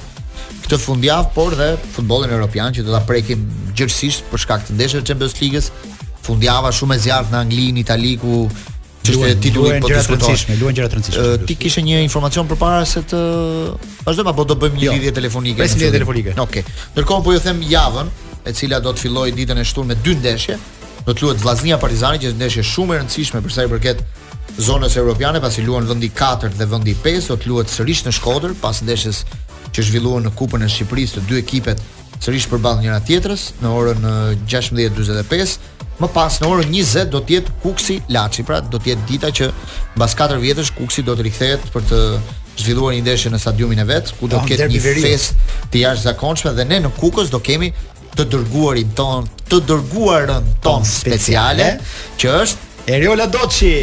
A: këtë fundjavë, por dhe futbollin evropian që do ta prekim gjithsesi për shkak të ndeshjeve të Champions League-s. Fundjava shumë e zjarrt në Angli, në Itali ku çështja e
B: Luajnë-
A: titullit
B: luajnë
A: po
B: gjëra të
A: diskutohet.
B: rëndësishme, luajnë gjëra të rëndësishme.
A: Ë, Ti kishe një informacion përpara se të vazhdojmë apo do bëjmë një
B: Jo.
A: lidhje telefonike?
B: Presim
A: në
B: lidhje
A: fillim?
B: telefonike.
A: Okej. Ndërkohë po ju them javën, e cila do të fillojë ditën e shtunë me dy ndeshje. Do të luhet Vllaznia Partizani, që është ndeshje shumë e rëndësishme për sa i përket zonës europiane, pasi luan vendi 4 dhe vendi 5, do të luhet sërish në Shkodër pas ndeshjes që zhvilluan në Kupën e Shqipërisë të dy ekipet sërish përballë njëra tjetrës në orën eh, 16:45. Më pas në orën 20 do të jetë Kuksi Laçi, pra do të jetë dita që mbas 4 vjetësh Kuksi do të rikthehet për të zhvilluar një ndeshje në stadiumin e vet, ku do
B: Ah,
A: të ketë
B: derbi
A: një
B: veriut.
A: festë të jashtëzakonshme dhe ne në Kukës do kemi të dërguarin ton, të dërguarën ton speciale, që është
B: Eriola Doçi.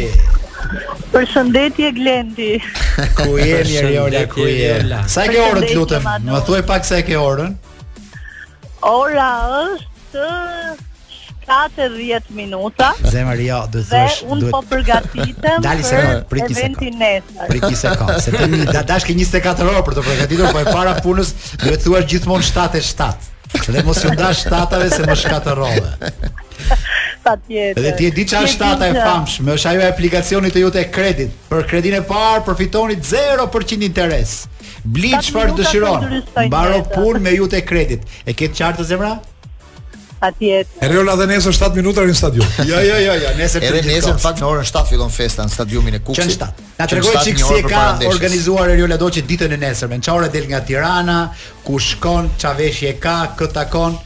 F: Përshëndetje Glendi.
B: Ku jeni Eriola, ku
D: Përshëndetje,
B: je?
D: Eriola.
B: Sa e ke orën, të lutem?
F: Përshëndetje, Manu.
B: Më thuaj pak sa e ke orën.
F: Ora është 7:10 minuta
B: Zemër ja, do të
F: dhe
B: thosh,
F: unë po
B: duhet
F: përgatitem
B: Dali se
F: për
B: ka, prit një sekond.
F: eventin nesër.
B: prit një sekond, se të një da dashkë 24 orë për të përgatitur, po e para punës duhet thuash gjithmonë 7 e 7. Dhe mos ju ndash shtatave se më shkatërrove.
F: Patjetër.
B: Edhe ti e di çfarë
F: Ti
B: shtata e
F: që-
B: famshme, është ajo e aplikacionit të jute e kredit. Për kredinë e parë përfitoni 0% interes. Bli
F: Tat
B: çfarë
F: minuta
B: dëshiron.
F: të ndryshtojnë
B: Mbaro
F: jetën.
B: punë me jute e kredit. E ke të qartë zemra?
F: Patjetër.
C: Eriola dhe nesër 7 minuta në stadium.
B: Jo, jo, jo, jo, nesër
A: edhe nesër në fakt në orën 7 fillon festa në stadiumin e Kukës.
B: Qen 7. Na tregoj çik si e ka organizuar Eriola Doçi ditën e nesërme. Në çfarë del nga Tirana, ku shkon, ç'a veshje ka, kë takon,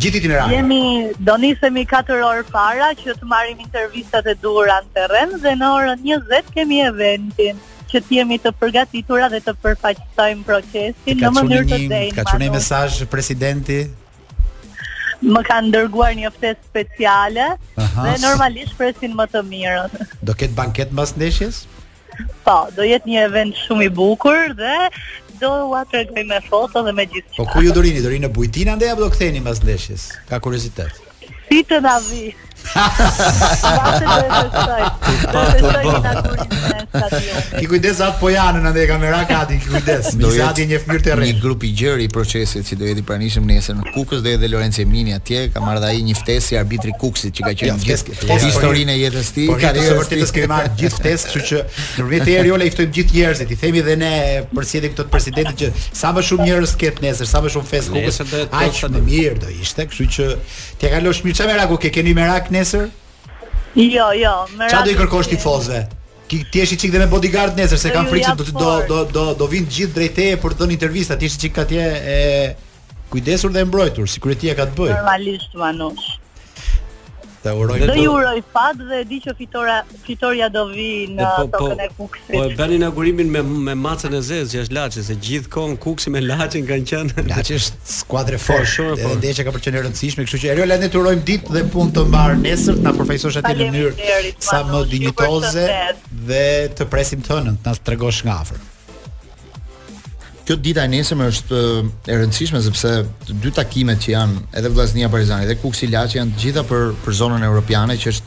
B: gjithë itinerarin.
F: Jemi do nisemi 4 orë para që të marrim intervistat e duhura në terren dhe në orën 20 kemi eventin që të jemi të përgatitura dhe të përfaqësojmë procesin në
B: Ka
F: mënyrë të
B: çuni një,
F: denjë.
B: ka çuni
F: Manu.
B: mesazh presidenti.
F: Më kanë dërguar një ftesë speciale
B: Aha.
F: dhe normalisht presin më të mirën.
B: Do ket banket mbas ndeshjes?
F: Po, do jetë një event shumë i bukur dhe do ua tregoj me foto dhe me gjithçka.
B: Po ku ju dorini? Dorini në Bujtina ndaj apo do ktheheni mbas ndeshjes? Ka kuriozitet.
F: Si të na vi. Vase
B: Po,
F: do e besoj. Do e besoj në naturinë e stadionit.
B: Ki kujdes atë po janën andaj kamera kati, ki kujdes.
A: Do
B: Misa
A: jetë
B: ati një fëmir të
A: Një
B: rrejt.
A: grup i gjerë i procesit që do jeti pranishëm nesër në Kukës, do jetë dhe Lorenzo Emini atje, ka marrë dhe ai një ftesë si arbitri i Kukësit që ka
B: Jo,
A: qenë
B: ftesë-
A: gjithë
B: ftesë-
A: historinë e jetës së tij,
B: Po ka të
A: karrierës së
B: vërtetës
A: tij.
B: kemi marrë gjithë ftesë, kështu që nëpërmjet e Eriola i ftojmë gjithë njerëzit. I themi dhe ne përsëritim këtë presidentit që sa më shumë njerëz ketë nesër, sa më shumë festë kukës,
D: Nesër do jetë
B: aq
D: festa
B: më mirë do ishte, kështu që t'ja kalosh mirë. Çfarë meraku ke? Keni merak nesër?
F: Jo, jo, më
B: Çfarë do i
F: radhë
B: kërkosh
F: nuk jemi.
B: tifozëve? Ki ti je çik dhe me bodyguard nesër se
F: Do
B: kanë
F: ju
B: frikë se
F: jap
B: do do do do do vinë gjithë drejt teje për të dhënë intervista. Ti je çik atje e kujdesur dhe e mbrojtur, sigurisht ka të bëj.
F: Normalisht manush.
B: Të uroj
D: Dhe
F: Do
D: do-
F: ju uroj fat dhe di që fitora fitoria do vi
D: Dhe
F: në tokën e
D: po e
F: kuksit.
D: bën inaugurimin me me macën e zezë që është Laçi, se gjithkohon Kuksi me Laçin kanë qenë.
B: Laçi është skuadre
D: Po,
B: fort,
D: shumë e
B: edhe
D: fortë.
B: ndeshja ka për qenë e rëndësishme, kështu që Eriola ne të urojmë ditë dhe punë të mbar nesër, të na përfaqësosh atë në mënyrë
F: Faleminderit,
B: sa më
F: Manush, ju
B: dinjitoze
F: përshëndes.
B: dhe të presim tënën, të na tregosh nga afër.
A: Kjo dita e nesërme është eh, e rëndësishme sepse të dy takimet që janë edhe Vllaznia Partizani dhe Kuksi Laçi janë të gjitha për për zonën europiane që është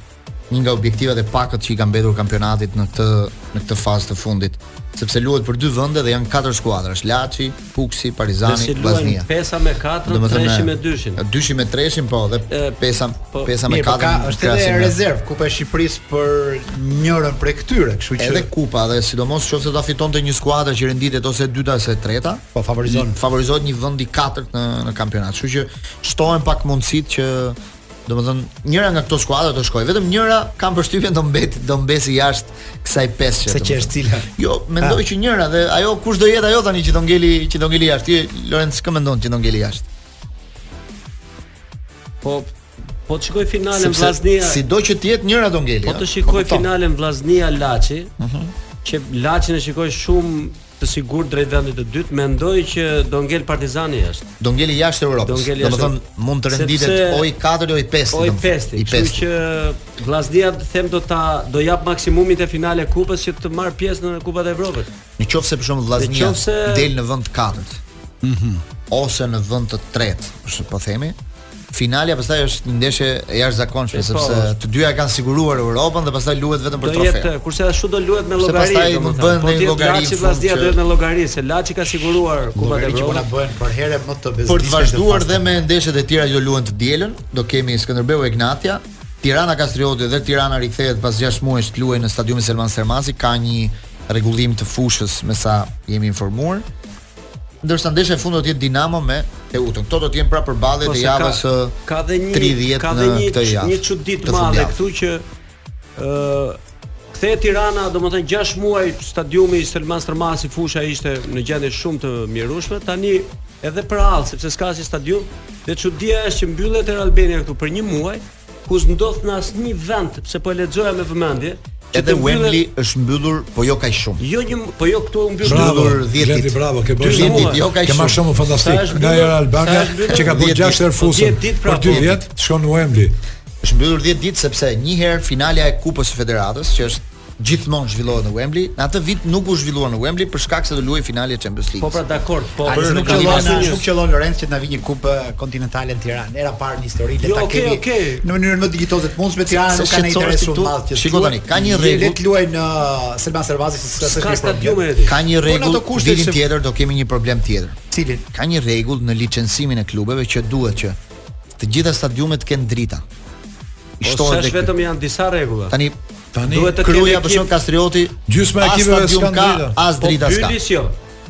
A: një nga objektivat e pakët që i ka mbetur kampionatit në këtë në këtë fazë të fundit, sepse luhet për dy vende dhe janë katër skuadra, është Laçi, Kuksi,
D: Dhe
A: Partizani,
D: si luajnë
A: Vllaznia.
D: pesa me 4,
A: Domethënë,
D: 3 me 2.
A: Dyshi me treshin po dhe
D: E,
A: pesa
D: po,
A: pesa me
B: Mirë, po ka
A: katër.
B: është edhe rezervë Kupa e Shqipërisë për njërën prej këtyre, kështu që
A: edhe kupa dhe sidomos nëse ta fitonte një skuadër që renditet ose e dyta ose e treta,
B: po favorizon.
A: favorizohet një vend i katërt në në kampionat. Kështu që shtohen pak mundësitë që domethënë njëra nga këto skuadra do shkojë, vetëm njëra kam përshtypjen do mbet do mbesi jashtë kësaj pesë.
B: Se që është cila? Ah.
A: Jo, mendoj që njëra dhe ajo kush do jetë ajo tani që do ngeli që do ngeli jashtë. Ti Lorenz çka mendon që do ngeli jashtë?
D: Po po të shikoj finalen
A: Sepse
D: Vllaznia.
A: sido që të jetë njëra do ngeli.
D: Po
A: ja.
D: të shikoj
A: kupton.
D: finalen Vllaznia Laçi. Që Laçin e shikoj shumë të sigurt drejt vendit të dytë, mendoj që do ngel Partizani jashtë.
A: Do ngeli jashtë Europës.
D: Do ngeli
A: Do
D: jashtë
A: të thonë mund të renditet
D: Sepse-
A: o i 4 o i 5.
D: O Po, i pesti,
A: I 5.
D: kështu që Vllaznia them do ta do jap maksimumin te finale e kupës që të marr pjesë në Kupat e Evropës.
A: Në qoftë se për shembull Vllaznia
D: qoftë se- Mhm.
A: del në vend të katërt. Ose në vend të tretë, kështu po themi. Finalja pastaj është një ndeshje e jashtëzakonshme
D: E, po,
A: sepse
D: është.
A: të dyja kanë siguruar Europën dhe pastaj luhet vetëm
D: Do
A: për
D: jetë,
A: trofe.
D: kurse ashtu do luhet me
A: Se
D: llogari.
A: pastaj
D: domethënë.
A: bën
D: Po
A: një
D: ti
A: llogari në
D: Laçi
A: fund
D: Vllaznia
A: që-
D: do jetë me llogari, se Laçi ka siguruar Kupat e
B: Llogari që po na
D: Evropës.
B: bëhen për herë më të bezdishme.
A: Për të vazhduar dhe me ndeshjet e tjera që luhen të dielën, do kemi Skënderbeu e Ignatia, Tirana Kastrioti dhe Tirana rikthehet pas 6 muajsh të luajë në stadiumin Selman Sermasi, ka një rregullim të fushës me sa jemi informuar. Ndërsa ndeshja e fundit do të jetë Dinamo me Teutën. Këto do të jenë prapë përballjet
D: Ose
A: e javës
D: Po ka,
A: së
D: ka dhe një
A: 30
D: ka
A: në
D: dhe një
A: këtë javë.
D: një çudi
A: të
D: të madhe
A: fundjavës.
D: këtu që ë kthehet Tirana, domethënë 6 muaj stadiumi i Selman Stërmasi fusha ishte në gjendje shumë të mjerueshme. Tani edhe për hall, sepse s'ka si stadium, dhe çudia është që mbyllet Air Albania këtu për një muaj, ku s'ndodh në asnjë vend, sepse po e lexoja me vëmendje, që
A: Edhe
D: të mbyllet-
A: Wembley është mbyllur, po jo kaq shumë.
D: Jo një po jo këtu u mbyll
A: Bravo,
D: mbyllur.
A: 10 ditë.
C: Glendi, bravo, ke bërë
A: 10
C: shumë.
D: ditë,
A: jo, ka i
C: Ke marrë
A: shumë.
C: shumë fantastik.
D: Sa është
C: Nga
D: mbyllur?
C: Air Albania
D: Sa është mbyllur?
C: që ka
A: 10
C: bërë 6 herë
A: ditë.
C: fusën.
D: 10 ditë,
C: Për
D: bravo.
C: 2 vjet shkon në Wembley.
A: është mbyllur 10 ditë sepse një herë finalja e Kupës së Federatës, që është gjithmonë zhvillohet në Wembley, në atë vit nuk u zhvillua në Wembley për shkak se do luajë finalja e Champions
D: Po
A: League.
D: pra dakord, po
B: A
D: bërë
B: nuk
D: ka
B: qellon,
D: asnjë
B: nuk qellon Lorenz që të na vi një kupë kontinentale në Tiranë. Era parë në histori, le
D: Jo,
B: ta
D: okej,
B: kemi
D: okej.
B: në mënyrën më digjitale të mundshme. Tirana
A: Se
B: nuk ka ndonjë
A: shqetësore
B: interes
A: si
B: shumë
A: tu-
B: të madh që.
A: shiko
B: të luhet.
A: tani, ka një
B: Le- Le
A: rregull.
B: të luajnë në Selman Servazi se s'ka s'ka
D: Ka
B: problem.
D: stadiume edhe.
A: Ka një
B: Po, në ato
A: rregull,
B: kushte
A: vitin
B: se-
A: tjetër do kemi një problem tjetër.
B: Cilin?
A: Ka një rregull në licencimin e klubeve që duhet që të gjitha stadiumet kenë drita. I
D: Po
A: shtohet
D: s'është
A: dhe
D: vetëm janë disa rregulla.
A: tani
C: Tani
D: Duhet të
A: Kruja
D: ketë
A: për
D: ekip-
A: shkak Kastrioti,
C: Gjysma e
A: as
C: ekipeve
A: stadium
C: s'kan
A: ka,
C: drita.
A: As drita
D: po
A: s'ka.
D: Bylis jo.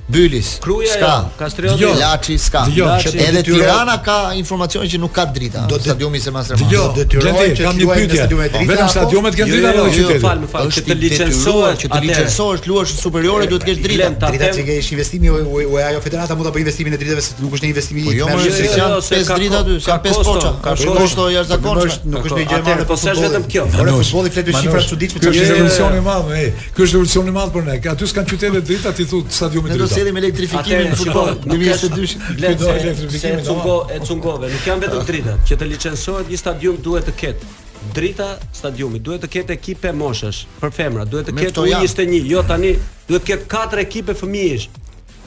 A: Bylis.
D: Kruja
A: s'ka.
D: jo, Kastrioti
C: Jo.
D: jo.
A: Laçi s'ka.
C: Dëgjo,
D: Laçi-
A: edhe
B: detyrohet-
A: Tirana ka informacion që nuk ka drita.
B: Do
A: Do
B: të-
A: stadiumi i Semastër Mas.
C: Dëgjoj,
B: detyrojnë
C: Glendi,
B: që
C: kam
B: të
C: një
B: luajnë në
C: pyetje.
B: stadiumet drita,
C: Vetëm
B: apo-
C: stadiumet
D: Jo,
C: kanë
D: jo,
C: drita apo
D: jo, jo, fal,
C: qyteti?
D: më fal, që
A: është
D: të
A: i detyruar,
D: licencohet,
A: që të licencohesh luash superiore duhet të kesh dritë.
D: Glen, ta
B: Drita
D: them-
B: që ke ish investimi u- u- u- ajo federata mund ta bëjë investimin e dritave se nuk është një investimi
A: Po jo më
B: mershëm,
A: se
D: jo,
A: janë
D: jo, se
A: pesë
D: ka
A: drita
D: ko-
A: aty,
D: ka
A: janë pesë
D: kosto,
A: poça.
D: ka
A: Ka
D: kosto.
A: kosto
B: Nuk
A: jashtëzakonshme.
B: është nuk është një gjë
D: Atëherë,
B: e marrë
D: po s'është vetëm kjo.
B: Ora
C: Manush,
B: futbolli flet me
C: Manush,
B: shifra të çuditshme,
C: Ky
B: çfarë
C: është
B: është
C: revolucion i madh, ej. Ky është revolucion i madh për ne. Ka- Aty s'kan qytete drita, ti thu stadiumi
A: Ne do
C: drita.
A: sjellim elektrifikimin
D: Atëherë,
A: në futboll
D: shiko, nuk është-
A: 2022.
D: Glen,
C: Do
D: se-
C: elektrifikimin,
D: se
C: do.
D: cungo, e cungove, nuk janë vetëm dritat. Që të licencohet një stadium duhet të ketë drita stadiumi, duhet të ketë ekipe moshash për femra, duhet të
A: Me
D: ketë
A: këto janë.
D: U21, jo tani duhet të ketë katër ekipe fëmijësh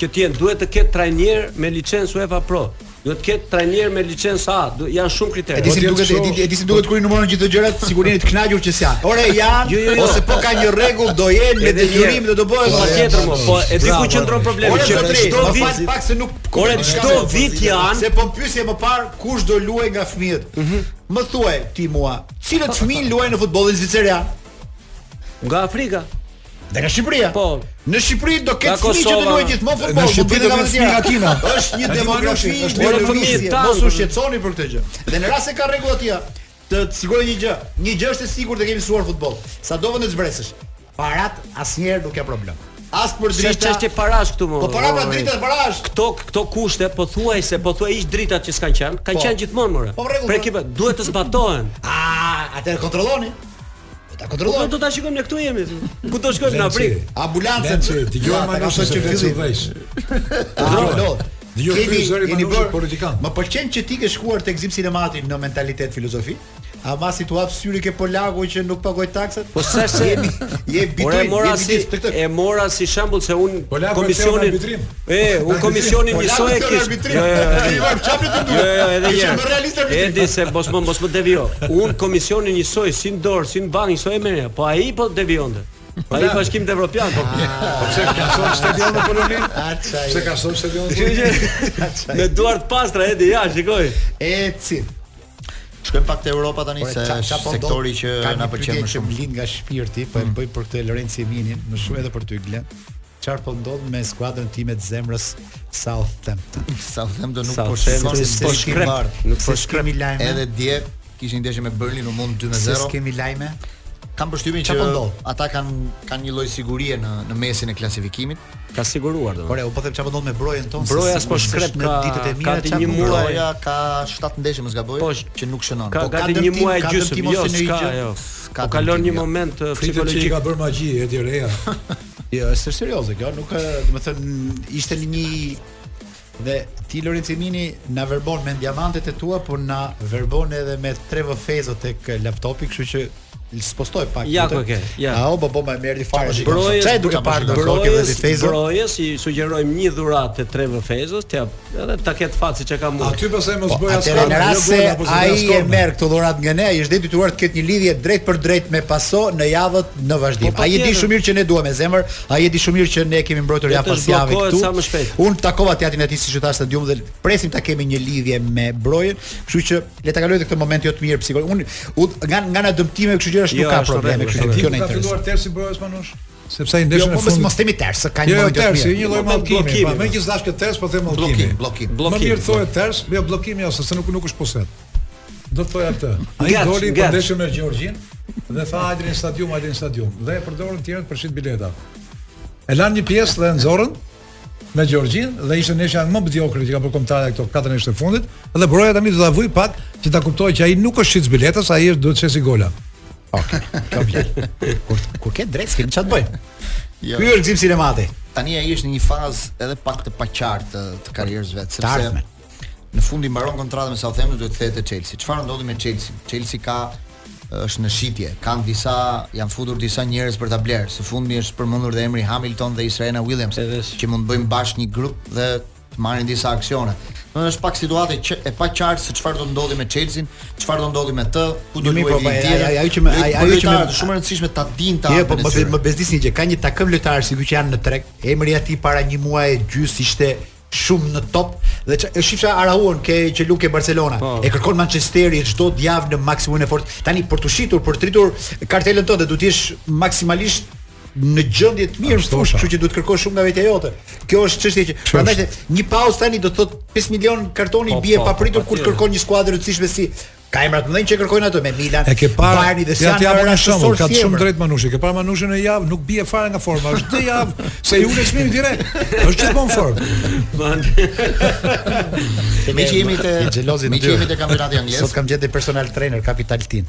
D: që të jenë, duhet të ketë trajner me licencë UEFA Pro, duhet të ketë trajner me licencë A, du- janë shumë
B: E
D: kritere.
B: di si
C: Po,
B: duket,
C: ti
B: e
C: e
B: di- e di si duket kur i numëron gjithë të gjërat, sigurinë të kënaqur që s'janë. Ore janë,
D: Jo, jo, jo.
B: ose po ka një rregull do jenë me
D: Edhe
B: detyrim
D: një-
B: dhe do bëhet
D: Pa
B: patjetër.
D: tjetër mo, po e di ku qëndron problemi
B: Ore
D: që
B: zotri,
D: çdo
B: më
D: vit
B: fal pak se nuk
D: Ore
B: kuptoj
D: çdo
B: diçka.
D: vit janë
B: Se po pyesje më parë kush do luaj nga fëmijët.
D: Mhm.
B: Më thuaj ti mua, cilët fëmijë luajnë në futbollin zviceran?
D: nga Afrika.
B: Dhe nga Shqipëria.
D: Po.
B: Në Shqipëri do
D: Nga
B: ketë fëmijë që do
D: Kosova.
B: luajnë gjithmonë
C: Në
B: futboll.
C: Shqipëri
B: mund të
C: do
B: ketë
C: ketë fëmijë nga Kina.
B: Është një
C: Ati
B: demografi,
C: Manushi, është
B: një
D: një
B: fëmijë
D: fëmijë
B: tan.
D: tanë.
B: Mos u shqetësoni për këtë gjë. Dhe në rast se ka rregull atje, të të siguroj një gjë. Një gjë është e sigurt të kemi mësuar futboll. Sado vend të zbresësh. Parat asnjëherë nuk ka problem. As për
D: Drita...
B: drita.
D: çështje parash këtu mo.
B: Po para pra
D: mo,
B: drita
D: e.
B: parash.
D: Këto këto kushte po thuaj se po thuaj ish dritat që s'kan qenë, kanë
B: Po.
D: qenë gjithmonë more.
B: Po, rregull,
D: Për
B: po.
D: ekipet duhet të zbatohen.
B: Ah, atë kontrolloni. Po Ta
D: Po
B: kontrolloni.
D: do ta shikojmë ne këtu jemi. Ku do shkojmë në
C: Lenci,
D: Afrikë?
B: Ambulancën.
C: Lenci, dëgjoj
B: Ja, ta
C: Manush
B: kam thënë
C: se
B: që
C: flet
B: fillim.
C: vesh.
B: Dëgjoj. lot.
C: Dëgjoj,
B: Keni-
C: ky zëri
B: keni
C: Manushi
B: bërë-
C: politikan.
B: Më pëlqen që ti ke shkuar tek Zip Sinemati në mentalitet filozofi. Ama si tu hap syri ke polaku që nuk pagoj taksat?
D: Po s'është se
B: Je
D: Ora
B: bitoj,
D: e mora
B: je
D: si
B: bitis të këtë.
D: e mora si shembull se un
C: Po, la,
D: komisionin
C: po, arbitrim.
D: E, un
C: Arbitrim.
D: komisionin
B: Po, la,
D: njësoj e
B: po,
D: kish.
B: arbitrim.
D: Jo, jo, jo,
B: Ti
D: jo.
B: vëm çfarë të duhet.
D: Jo, jo, edhe
B: Ishe
D: një.
B: më realist arbitri.
D: Edi se mos më mos më devio. Un komisionin njësoj si në dorë, si në bank, njësoj e merrja, po ai po devionte. Ai
C: la-
D: bashkim të evropian, po
C: Po pse ka son stadion në Poloni?
B: Ah, çaj.
C: Pse ka son stadion në
D: Kështu
C: Poloni?
D: që me duart pastra edi ja, shikoj.
B: E cin.
A: Shkojmë pak te Europa tani
B: Ore,
A: se
B: qa- qa
A: është
B: po
A: sektori
B: ndodh?
A: që
B: Ka
A: na
B: një
A: pëlqen
B: pyetje
A: më
B: që
A: shumë.
B: më lind nga shpirti, po e
D: Mm.
B: bëj për këtë Lorenzo Eminin, më shumë edhe për ty Glen. Çfarë po ndodh me skuadrën time të zemrës Southampton?
A: Southampton nuk
D: Sa
A: po
D: them,
A: shkon
D: se
A: se
D: po
A: si
D: shkrep.
A: marr.
D: Nuk po
B: Se s'kemi lajme.
A: Edhe dje kishin ndeshje me Berlin u mund
B: se
A: 2-0.
B: s'kemi lajme.
A: Kam përshtypjen
B: Qa
A: që
B: po ndodh?
A: ata kanë kanë një lloj sigurie në në mesin e klasifikimit.
D: Ka siguruar domoshta.
B: Ore, u po them çfarë po ndodh me brojen tonë. se
D: Broja
B: sigurisht
D: s'po shkret
B: është në
D: ka-
B: ditët e
D: ka
B: mira
D: ti
B: çfarë
D: një
B: po
D: muaj.
B: ndodh?
A: Broja ka 7 ndeshje mos gaboj
D: Po,
A: që nuk shënon.
D: Ka
A: Po,
D: gati
B: dëmtim,
D: një muaj e
B: ka
D: gjysmë,
B: dëmtim
D: jo,
B: ose në një
D: s'ka,
B: gjë?
D: jo.
A: S'ka
D: Po kalon
A: dëmtim,
D: një
A: jo.
D: moment eh,
C: Fritet që i
D: psikologjik.
C: Po. ka bërë magji Edi Reja.
B: Jo, është serioze kjo, nuk e, do të thënë ishte një dhe ti Lorenzimini na verbon me diamantet e tua, por na verbon edhe me tre vëfezë tek laptopi, kështu që spostoj pak.
D: Ja,
B: lutem.
D: ku ke, ja.
B: A o bobo më merri fare. shikon,
D: Brojes,
B: çaj duka parë do kokë dhe vëfezë.
D: brojes, i sugjerojmë një dhuratë të tre vëfezës, t'ja edhe ta ketë fatë siç e ka mua.
C: Aty pastaj mos jo
B: Po,
C: bëj
B: atëherë në rast se ai e merr këtë dhurat nga ne, ai është detyruar të ketë një lidhje drejt për drejt me Paso në javët në vazhdim.
D: Po, po,
B: ai e di
D: tjetër.
B: shumë mirë që ne duam me zemër, ai e di shumë mirë që ne kemi mbrojtur
D: Le
B: javë
D: të
B: pas javë
D: zblokohet
B: këtu.
D: sa më shpejt.
B: Unë takova teatrin atij siç e thash stadium dhe presim ta kemi një lidhje me Brojen, kështu që le ta kaloj edhe këtë moment jo të mirë psikologjik. Unë u- nga nga na dëmtime, kështu që është
D: Jo,
B: nuk ka
D: është
B: probleme,
D: rregull,
B: kështu
D: është
B: që kjo
C: Kjo
B: na
C: ka
B: intereson.
C: filluar tersi brojes manush, sepse ai
B: Jo,
C: ndeshën
B: po
C: e
B: mos mos
C: fundit.
B: themi ters, ka një
C: Jo, jo,
B: moment jo të
C: tersi,
B: mirë.
C: një lloj
D: Po,
C: mallkimi.
D: bllokimi,
C: Po
D: po.
C: më që s'dash këtë ters, po them mallkimi.
A: Bllokim, bllokim.
C: Më
D: Bllokim,
C: mirë thohet ters, jo bllokim jo, sepse nuk nuk është poset. Do të thoja atë. Ai
D: Ngaç,
C: doli
D: ngaç.
C: për ndeshjen me Gjeorgjin dhe tha hajde në stadium, hajde në stadium dhe e përdorën tjerët për shit bileta. E lan një pjesë dhe e nxorën me Gjeorgjin dhe ishte ndeshja më mediokre që ka bërë kombëtare këto katër ndeshje të fundit dhe broja tani do ta vuj pak që ta kuptojë që ai nuk është shit biletës, ai është duhet të çesi gola.
B: Kur kur ke drejt, s'kem çfarë të bëj.
A: Jo.
B: Ky është gzim sinemati.
A: Tani ai është në një fazë edhe pak të paqartë të, të karrierës vet,
B: Të ardhmen.
A: sepse në fund i mbaron kontratën me Southampton duhet të thehet te Chelsea. Çfarë ndodhi me Chelsea? Chelsea ka është në shitje. Kanë disa janë futur disa njerëz për ta bler. Së fundi është përmendur dhe emri Hamilton dhe Israela Williams,
D: Edhe s-
A: që mund të bëjnë bashkë një grup dhe të marrin disa aksione. Do është pak situatë që e paqartë se çfarë do të ndodhi me Chelsea, çfarë do ndodhi me të, ku do të
B: Mirë, po,
A: luajë
B: po,
A: ai
B: ai- ai- ajo që me- ai- ajo që me-
A: është shumë e rëndësishme ta dinë ta.
B: Jo, po më më bezdisni që ka një takëm lojtarë sikur që janë në treg. Emri i atij para një muaji gjys ishte shumë në top dhe qa- e shifsha Arauon ke që luke Barcelona.
D: Po.
B: E kërkon Manchesteri çdo djavë në maksimumin e fortë. Tani për të shitur, për të rritur kartelën tënde duhet të jesh maksimalisht në gjendje të mirë,
C: Ashtu është.
B: thosh, kështu që duhet kërkosh shumë nga vetja jote. Kjo është çështje që
C: është.
B: prandaj the- një pauzë tani do të thotë 5 milion kartoni
D: Po,
B: bie
D: po,
B: pa pritur
D: po,
B: kur të
D: patjetër.
B: kërkon një skuadër e rëndësishme si ka emra të mëdhenj që kërkojnë ato me Milan,
C: E ke parë
B: Bayerni dhe
C: ja
B: janë
C: ti jam
B: marrë
C: në shembull, ka të
B: thjemër.
C: shumë drejt Manushi. Ke parë Manushin në javë, nuk bie fare nga forma. Është dhe javë se i ulë çmimi direkt. Është gjithmonë fort.
A: Me që jemi te
B: Je xhelozi
A: me
B: në
A: që
B: dy.
A: jemi te kampionati anjes.
B: Sot kam gjetë një personal trainer Capital Tin.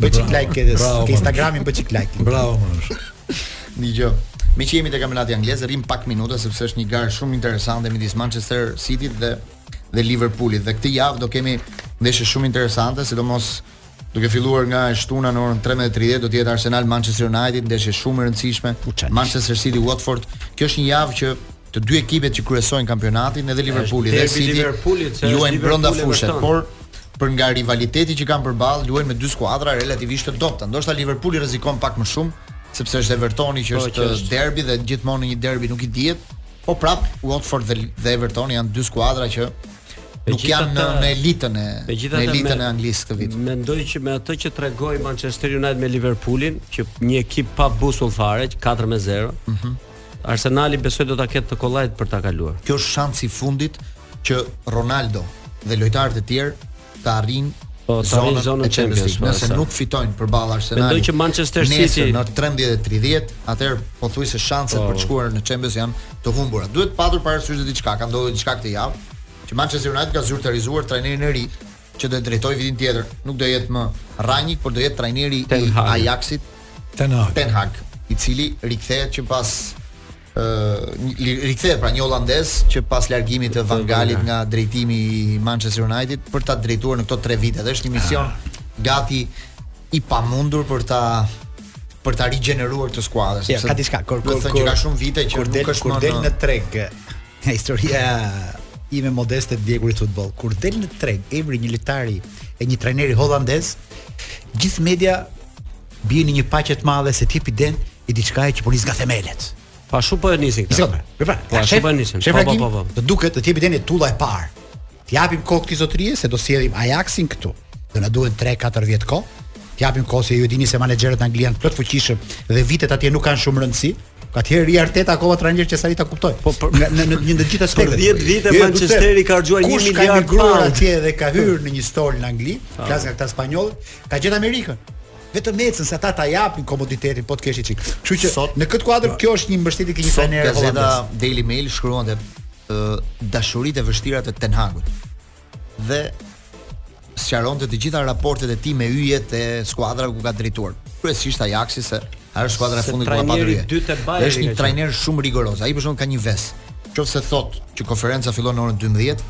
B: Bëj çik like edhe
C: Bravo,
B: ke Instagramin bëj çik like.
C: Bravo Manush.
A: Dgjoj. Me që jemi te kampionati anglez, rrim pak minuta sepse është një garë shumë interesante midis Manchester City dhe dhe Liverpoolit. Dhe këtë javë do kemi ndeshje shumë interesante, sidomos duke filluar nga e shtuna në orën 13:30 do të jetë Arsenal Manchester United, ndeshje shumë e rëndësishme. Manchester City Watford. Kjo është një javë që të dy ekipet që kryesojnë kampionatin, edhe Liverpooli dhe
D: derbi
A: City
D: Liverpoolit, se është
A: luajnë brenda
D: Liverpooli e
A: fushës,
D: vërteton.
A: por por për nga rivaliteti që kanë përballë luajnë me dy skuadra relativisht të dobta. Ndoshta Liverpooli rrezikon pak më shumë sepse është Evertoni që
D: Po,
A: është,
D: që është.
A: derbi dhe gjithmonë në një derbi nuk i dihet. Po prap Watford dhe, dhe Evertoni janë dy skuadra që nuk janë në,
D: gjithatë-
A: në elitën e në
D: Megjithatë
A: elitën e Anglisë këtë vit.
D: Mendoj që me atë që tregoi Manchester United me Liverpoolin, që një ekip pa busull fare, që 4-0. Arsenali besoj do ta ketë të kollajt për ta kaluar.
A: Kjo është shansi i fundit që Ronaldo dhe lojtarët e tjerë të arrijnë
D: Po, të arrijnë zonën
A: e Champions League.
D: Champions, po,
A: Nëse
D: e
A: nuk fitojnë përballë Arsenalit.
D: Mendoj që Manchester City-
A: nesër në 13:30, atëherë pothuajse shanset për të shkuar në Champions janë të humbura. Duhet patur parasysh dhe diçka, ka ndodhur diçka këtë javë, që Manchester United ka zyrtarizuar trajnerin e ri që do e drejtoj vitin tjetër. Nuk do jetë më Rangnick, por do jetë trajneri i
D: Ten Hag.
A: Ajaxit,
C: Ten Hag.
A: Ten Hag, i cili rikthehet që pas ë një- rikthehet pra një holandez që pas largimit të Van Galit nga drejtimi i Manchester United për ta drejtuar në këto 3 vite. Dhe është një mision gati i pamundur për ta për ta rigjeneruar të skuadrën.
B: Ja,
A: sepse
B: ka diçka. Kur
A: duhet
B: kur
A: të thënë që ka shumë vite që
B: kur
A: nuk
B: del-
A: është
B: kur
A: më
B: del
A: në-
B: në treg. Nga historia ime modeste të djekurit futboll. Kur del në treg emri një lojtari e një trajneri hollandez, gjithë media bie në një paqe të madhe se ti den i diçka e që po nis nga themelet.
D: Pa shumë po e nisin
B: Një sekondë.
D: këta.
B: Pra,
D: Po,
B: pra,
D: ashtu
B: shef,
D: po e nisin.
B: shef
D: Po,
B: Rakim,
D: po, po, po.
B: të duket të jepi deni tulla e parë. Të japim kohë këtij zotërie se do sjellim Ajaxin këtu. Do na duhen 3-4 vjet kohë. Të japim kohë se ju e dini se menaxherët angli janë plot fuqishëm dhe vitet atje nuk kanë shumë rëndësi. Atëherë i Arteta akoma trajner që sari ta kuptoj. Po në në në një të gjitha aspektet.
D: 10 vite
B: Jo, jo,
D: Manchesteri
B: kuptoj.
D: ka harxuar një
B: Kush
D: miliard
B: Ka migruar
D: pound?
B: atje dhe ka hyrë në një stol në Angli, flas nga këta spanjollë, ka gjetë Amerikën. Vetëm ecën se ata ta japin komoditetin po të kesh i çik. Kështu që
A: Sot-
B: në këtë kuadër kjo është një mbështetje ke një
A: Sot
B: trajner
A: gazeta
B: hollandez.
A: Daily Mail shkruante ë dashuritë e vështira të Ten Hagut. Dhe sqaronte të gjitha raportet e tij me yjet e skuadrave ku ka drejtuar. kryesisht Ajaxi se ajo është skuadra e
D: Se
A: fundit ku ka
D: trajneri
A: patur. je.
D: dytë e Bayernit
A: Është një
D: ka qenë.
A: trajner shumë rigoroz. Ai për shkakun ka një ves. Qofse thot që konferenca fillon në orën 12,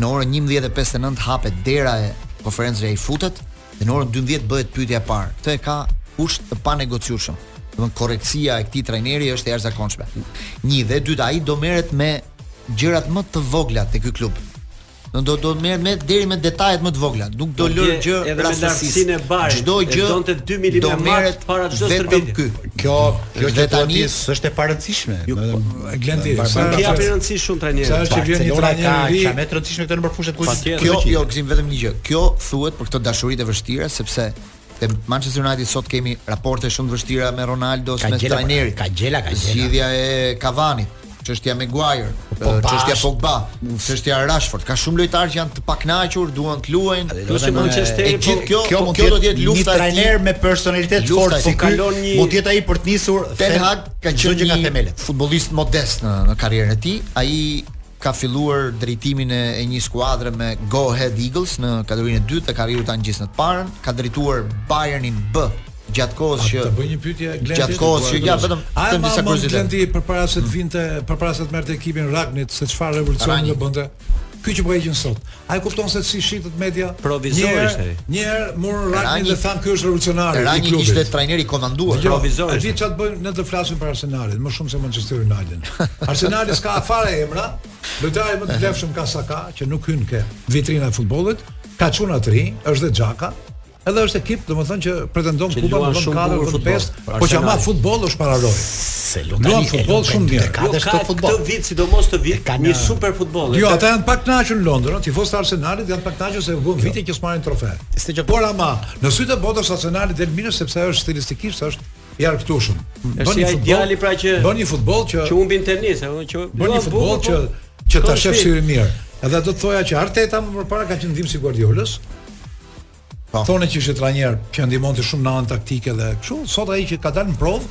A: në orën 11:59 hapet dera e konferencës ai futet dhe në orën 12 bëhet pyetja e parë. Këtë e ka kusht të panegociueshëm. Domthon korrektësia e këtij trajneri është e jashtëzakonshme. Një dhe e dyta ai do merret me gjërat më të vogla te ky klub. Do do, do merret me deri me detajet më të vogla. Nuk do
D: Do
A: lër
D: bje
A: gjë
D: edhe me
A: rastësisht.
D: lartësinë e barit,
A: Çdo
D: e
A: gjë
D: donte 2 milimetra
A: do merret
D: para çdo
A: vetëm
D: stërvitje.
A: Ky.
B: Kjo kjo
A: Dhe
B: që
A: tani-
B: tani është e parëndësishme.
C: E Glenti,
B: Barbar-
C: sa
D: Ti japi rëndësi shumë
C: Pra,
D: pra
C: Sa
D: trajnerit.
C: është- që vjen një
B: Barcelona
C: trajner
B: ka
C: i ri-
B: ka më të rëndësishme këto nëpër fushat ku
D: Patjetër.
A: Kjo
B: ku
A: jo
B: qithet.
A: gzim vetëm një gjë. Kjo thuhet për këto dashuritë e vështira sepse te Manchester United sot kemi raporte shumë të vështira me Ronaldo,
B: Ka
A: me
B: gjela,
A: trajnerin,
B: pra, ka gjela, ka gjela.
A: Zgjidhja e Cavani, çështja Maguire,
B: Pogba
A: çështja
B: është-
A: Pogba, çështja Rashford, ka shumë lojtarë që janë të pakënaqur, duan të luajnë.
D: Plus që Manchesteri
A: e gjithë
D: po
A: kjo,
B: Kjo
A: po
B: mund
A: kjo do të jetë
B: një
A: lufta e tij.
B: trajner me personalitet
A: Lufta
B: fort
A: e
B: si
A: tij.
B: ky.
D: Kalon një-
B: Mund të jetë ai për të nisur
A: Ten
B: them-
A: Hag ka
B: çdo
A: qenë
B: gjë nga
A: një
B: themelet.
A: futbollist modest në, në karrierën e tij. Ai ka filluar drejtimin e, e një skuadre me Go Ahead Eagles në kategorinë e dytë dhe ka rritur tani gjithë në të parën. Ka drejtuar Bayernin B gjatë kohës që
C: Të bëj një pyetje Glenti.
A: Gjatë kohës që- ja, vetëm-
C: A e
A: vetëm disa
C: ma mund
A: kuriozitete.
C: Glenti përpara se të vinte, përpara se të merrte ekipin Ragnit se çfarë revolucion
A: Ragnik.
C: do bënte. Ky që po heqin sot. Ai kupton se si shitet media?
D: Provizor
C: Një herë-
D: ishte ai.
C: Një herë morën Ragnit
A: Ragnik-
C: dhe than ky është revolucionari i
A: Rani
C: klubit.
A: ishte trajneri i komanduar.
C: Jo,
D: Provizor
C: A di
D: ishte.
C: çfarë të bëjmë ne të flasim për Arsenalin, më shumë se Manchester United. Arsenali s'ka fare emra. Lojtari më të vlefshëm ka Saka, që nuk hyn ke vitrina e futbollit, ka çuna të ri, është dhe Xhaka. Edhe është ekip, domethënë që pretendon
D: Që
C: Kupa në
D: luan
C: vend
D: shumë
C: 4
D: bukur
C: vend
D: futboll.
C: 5, po që ama
D: Arsenali.
C: futboll është para rojë.
B: Se
C: Luan futboll shumë mirë.
B: Ka
D: Jo,
B: dhe
D: ka
B: çdo futboll.
D: këtë vit, sidomos këtë vit,
B: Ka
D: një
B: një-
D: super futboll.
C: Jo,
D: Dhe-
C: ata janë pak kënaqur në Londër, ëh, tifozët e Arsenalit janë pak kënaqur se
D: Jo.
C: vjen vite që s'marrin trofe.
B: S'te
D: po-
B: që-
C: Por ama, në sy të botës Arsenali del minus sepse është stilistikisht është i arktushëm. Bën një
D: si Hmm. ai
C: futboll-
D: djali pra që-
C: bën një futboll që
D: që humbin tenis, apo që
C: Bën një
D: Jo,
C: futboll
D: bukur,
C: që
D: po.
C: që ta
D: Ka
C: shef
D: shpejt.
C: syrin mirë. Edhe do të thoja që Arteta më përpara ka qenë ndihmës i Guardiolës.
A: Po.
C: Thonë që ishte trajner që ndihmonte shumë në anë taktike dhe kështu. Sot ai që ka dalë në provë,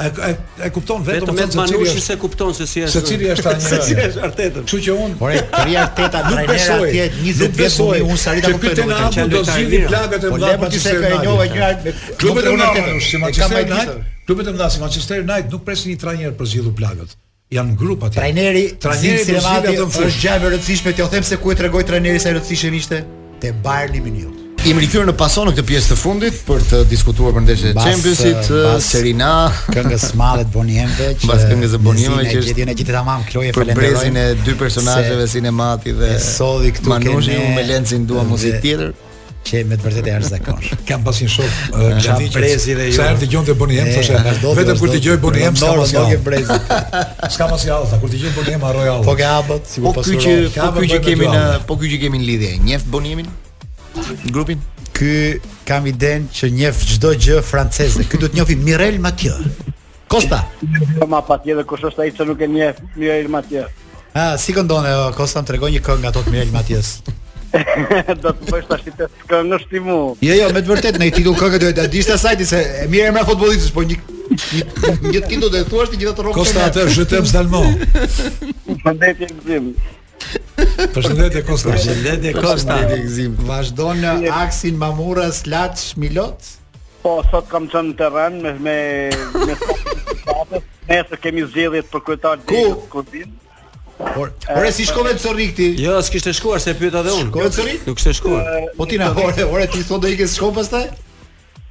C: e, e, e kupton vetëm
D: vetëm
C: thonë
D: Ed
C: se cili
D: Manushi
C: është.
D: se kupton se si është.
C: Se cili është
D: Se cili
C: trajneri.
D: është Arteta.
C: Kështu që unë
B: Por e Ria Arteta
C: nuk
B: trajner
C: besoj.
B: atje 20
C: nuk
B: vjet
C: besoj
B: unë unë sa rita
C: që
B: kuptoj.
C: Pyetën
B: domethënë.
D: qenë
C: Amu do
D: lojtar i
C: zgjidhni
D: mirë.
C: plagët e
B: Po
C: mëdha
B: le po ti se ka e njova gjëra.
C: Klubet e mëdha si Manchester United,
B: United.
C: klubet e mëdha si Manchester United nuk presin një trajner për zgjidhur plagët. Janë grup atje.
B: Trajneri,
C: trajneri
B: trajneri
C: do zgjidhë
B: Sinemati
C: atë në
B: është
C: fushë.
B: gjë e rëndësishme, t'ju them se ku e tregoi trajneri sa e rëndësishme ishte te Bayern Munich.
A: Jemi rikthyer në pason në këtë pjesë të fundit për të diskutuar për ndeshjet e
B: Mbas,
A: Championsit, uh,
B: eh, mbas-
A: Serie A,
B: Këngës madhe të Boniemve që
A: Mbas këngës së Boniemve
B: Lezina
A: që është-
B: gjetjen e gjithë tamam Kloje
A: për
B: falenderoj.
A: brezin e dy personazheve sinemati dhe
B: e sodhi këtu
A: Manushi
B: kene
A: unë me Lencin dua
B: dhe-
A: muzikë tjetër.
B: që me të vërtetë e jashtëzakonshme.
C: Kam pas një shok ë, Gladhi që
D: Brezi dhe
C: Sa
D: ju.
C: herë dëgjonte Boni M thoshte vetëm kur dëgjoj Boni M s'ka pas
B: Rëndorë,
C: jallë.
B: brezit.
C: S'ka pas jallë, tha, kur dëgjoj Boni M harroj jallë.
B: Po ke abot,
A: Po
B: sigur
A: ky që
B: pasuron.
A: po ky që
C: Ka me
A: kemi
C: bëjmë
A: në
C: duale.
A: po ky që kemi në lidhje, njef bonimin grupin.
B: Ky kam iden që njeh çdo gjë franceze. Ky duhet njohim Mirel Mathieu. Costa.
G: Jo, Ma pa tjetër kush është ai që nuk e njeh Mirel Matje.
B: Ah, si këndon e Costa më tregoj një këngë nga tot Mirel Mathies.
G: Do të bësh tash të këngësh ti mu.
B: Jo, jo, me të vërtetë në një titull këngë duhet ta dish ta sajti se e mirë emra futbollistësh, po një një, një titull do të thuash të gjitha të rrokut.
C: Kosta atë zhytem Salmo.
G: Përndetje gzim.
C: Përshëndetje Kosta.
D: Përshëndetje Kosta.
A: gëzim.
B: Vazhdon aksin Mamuras Laç Milot.
G: Po sot kam qenë në terren me me me stafin e Nesër kemi zgjedhjet për kryetar të Ligës Kurbin.
B: Por, ore si shkove të Zorrik ti?
D: Jo, s'kishte shkuar se pyeta edhe unë.
B: Shkove të Zorrik?
D: Nuk s'e shkuar.
B: Po ti na ore, ore ti thonë do ikes shkon pastaj?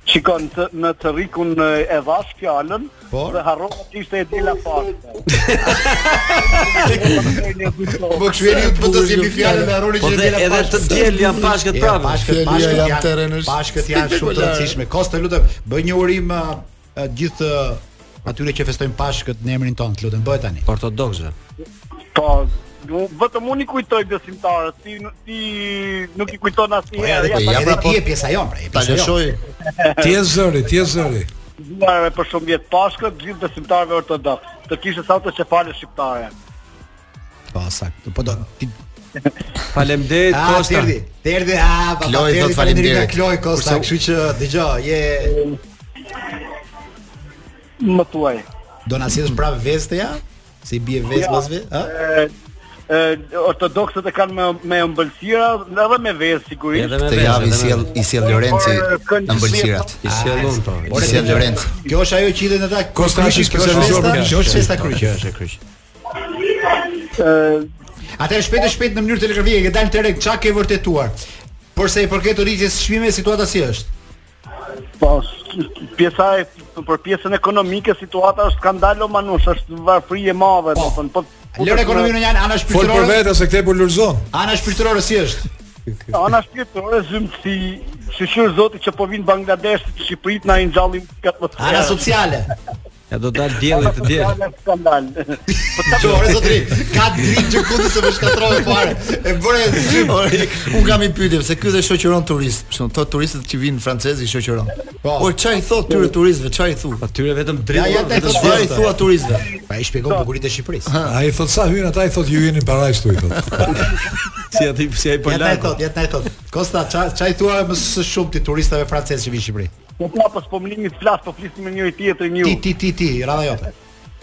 G: Shikon të, në të rikun e- e vash fjalën
B: Por?
G: dhe harrova që ishte e dela pastë.
B: Po kshveri të bëtë si fjalën e harroni
D: Po
B: që
D: dhe edhe të djel janë pashkët prapë.
B: Pashkët,
A: Fjalia
B: pashkët
A: jam terren
B: janë,
A: është
B: pashkët janë shumë të rëndësishme. Kosta lutem, bëj një urim uh, uh, gjithë uh, atyre që festojnë Pashkët në emrin ton, të lutem, bëj tani.
D: Ortodoksëve.
G: Po, u- vetëm unë i kujtoj besimtarët, ti n- ti nuk i kujton asnjëherë.
A: edhe- po, ja,
G: ja, tani
B: Edhe
A: pra, po-
B: ti je pjesa jon, pra, je
A: Ta
B: pjesa jon.
A: lëshoj
C: Ti je zëri, ti je zëri.
G: Zgjuarve për shumë vjet pashkët, gjithë besimtarëve ortodoks. Të kishte sa të çfarë shqiptare.
B: Po saktë. Po do ti
D: Faleminderit
B: Ah,
D: Kosta.
B: Terdi, Terdi, ah, pa,
A: Kloj, thot faleminderit.
B: Kloj Kosta,
A: Kurse-
B: kështu që dëgjoj, je
G: Më thuaj.
B: do na sjellësh prapë veste ja? Si bie vest
G: Ja.
B: pas vest, ha?
G: E, ë, ortodoksët e kanë me me ëmbëlsira edhe me vezë sigurisht.
D: Edhe me
A: Këtë
D: vezë,
A: javë i
D: edhe me-
A: sjell i sjell Lorenci
G: Por, këngë
A: ëmbëlsirat.
D: I sjellun po.
A: I sjell Lorenci.
B: Kjo është ajo që i ata
C: Kosta është i specializuar për
B: kjo është festa kryq.
D: Kjo është e kryq.
G: ë,
B: Atëherë shpejt e shpejt në mënyrë telegrafike ke dalë tek çka ke vërtetuar. Por se i përket rritjes së çmimeve situata si është?
G: Po, s- pjesa e për pjesën ekonomike situata është skandalo manush, është varfëri e madhe, do të thënë, po
B: Lër ekonominë në janë
C: Fol
B: ana
C: për
B: shpirtërore.
C: vetë se këtë e përlurzon.
B: Ana shpirtërore si është?
G: Ana shpirtërore zymtësi, shqyr zoti që po vinë Bangladesh në Shqipëri na i ngjallin këtë më
B: Ana sociale.
D: Ja do dal dielli të diel.
G: skandal.
B: Çore zotri, ka dritë që kundi se më shkatrove fare. E bëre zym.
A: Ore, un kam i pyetje se ky dhe shoqëron turist. Për shembull, to turistët që vinë francezë i shoqëron.
B: Po.
A: Por çfarë i thot tyre turistëve? Çfarë i thu?
D: Atyre po vetëm
B: Ja, ja, Po.
D: dritë.
B: te-
A: Çfarë i thua turistëve?
B: Pa i shpjegon bukuritë e Shqipërisë.
C: Ai thot sa hyn ata i thot ju jeni para i thot.
D: Si aty si ai po
B: Ja ta e
D: lart.
B: thot, ja ta e thot. Kosta, ça ça i thua më së shumti turistave francezë që vinë në Shqipëri?
G: Po pra po s'pomlimi të flas, po flisni me njëri tjetrin ju.
B: Ti ti ti ti, radha jote.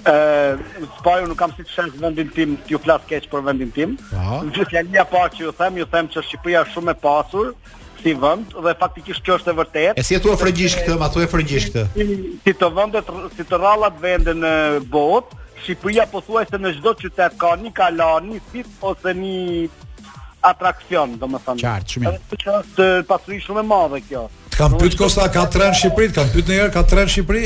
G: Ë, spajo nuk kam si të shans vendin tim, t'ju flas keq për vendin tim.
B: Po.
G: Gjithë fjalia pa që ju them, ju them që Shqipëria është shumë e pasur si vend dhe faktikisht kjo është e vërtetë.
B: E si e thua frëngjish këtë, ma thua frëngjish këtë.
G: si, si të vendet si të rallat vende në botë, Shqipëria pothuajse në çdo qytet ka një kalan, një sit ose një atraksion, domethënë.
B: Qartë, shumë mirë.
G: Edhe Kjo është pasuri shumë e madhe kjo.
C: Kan pyet Kosta ka tren në Shqipëri, kan pyet ndonjëherë ka tren në Shqipëri?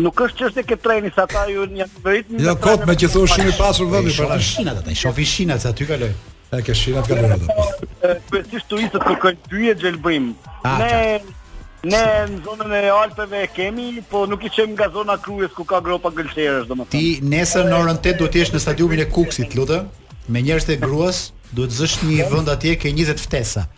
G: Nuk është çështje ke treni sa ata ju janë vërit.
C: Jo kot me që thua shumë i pasur vendi
B: Shofi
C: para.
B: shinat ata, shofi shinat se aty kaloj.
C: E ke shirat ka lënë atë.
G: kryesisht turistët po kërkojnë pyje gjelbrim.
B: Ah,
G: ne ne në zonën e Alpeve e kemi, po nuk i çem nga zona kryes ku ka gropa gëlqerësh domethënë.
B: Ti nesër në orën 8 duhet të jesh në stadiumin e Kuksit, lutem, me njerëz të gruas, duhet zësh një vend atje ke 20 ftesa.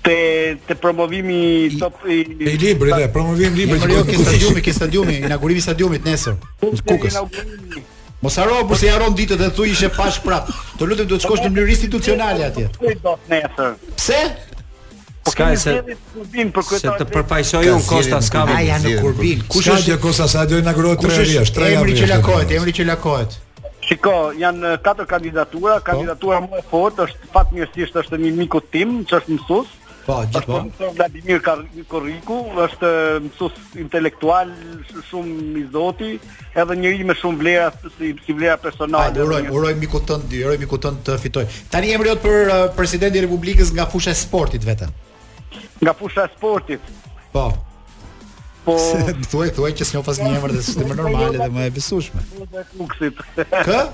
G: Te te promovimi i top i
C: E libri dhe promovim libri
B: Por
C: që
B: jo
C: bëhet
B: ke
C: kush.
B: stadiumi, ke stadiumi, inaugurimi i stadiumit nesër. Në Kukës.
G: inaugurimi.
B: Mos haro por se jaron ditët dhe thuj ishe pash prap. Të lutem duhet shkosh në mënyrë institucionale atje.
G: Kujt do të nesër?
B: Pse?
D: Ska
G: Kemi
D: se
G: zgjedhje të kurbin për
D: se
G: kryetarin.
D: të përfaqësoj
A: Ka
D: un Kosta
A: zgjedhje
D: s'ka.
A: në
B: A ja në Kurbil.
C: Kush është gjë Kosta sa do inaugurohet
B: Kush
C: tre vjeç,
B: është
C: tre
B: emri që lakohet, emri që lakohet.
G: Shiko, janë e, katër kandidatura, kandidatura më e fortë është fatmirësisht është një miku tim, që është mësues.
B: Po,
G: Është
B: gjithmonë.
G: profesor Vladimir Kar- Korriku, është e, mësues intelektual sh- shumë i zoti, edhe njëri me shumë vlera si, si vlera
B: Hajde,
G: personale.
B: Ah, uroj, uroj miku tënd, dy, uroj miku tënd të fitoj. Tani emri jot për uh, presidentin e Republikës nga fusha e sportit vetëm.
G: Nga fusha e sportit.
B: Po.
G: Po
B: Thuaj, thuaj që s'njoh pas një emër dhe s'është më normale dhe më e besueshme.
G: dhe kuksit.
B: Kë?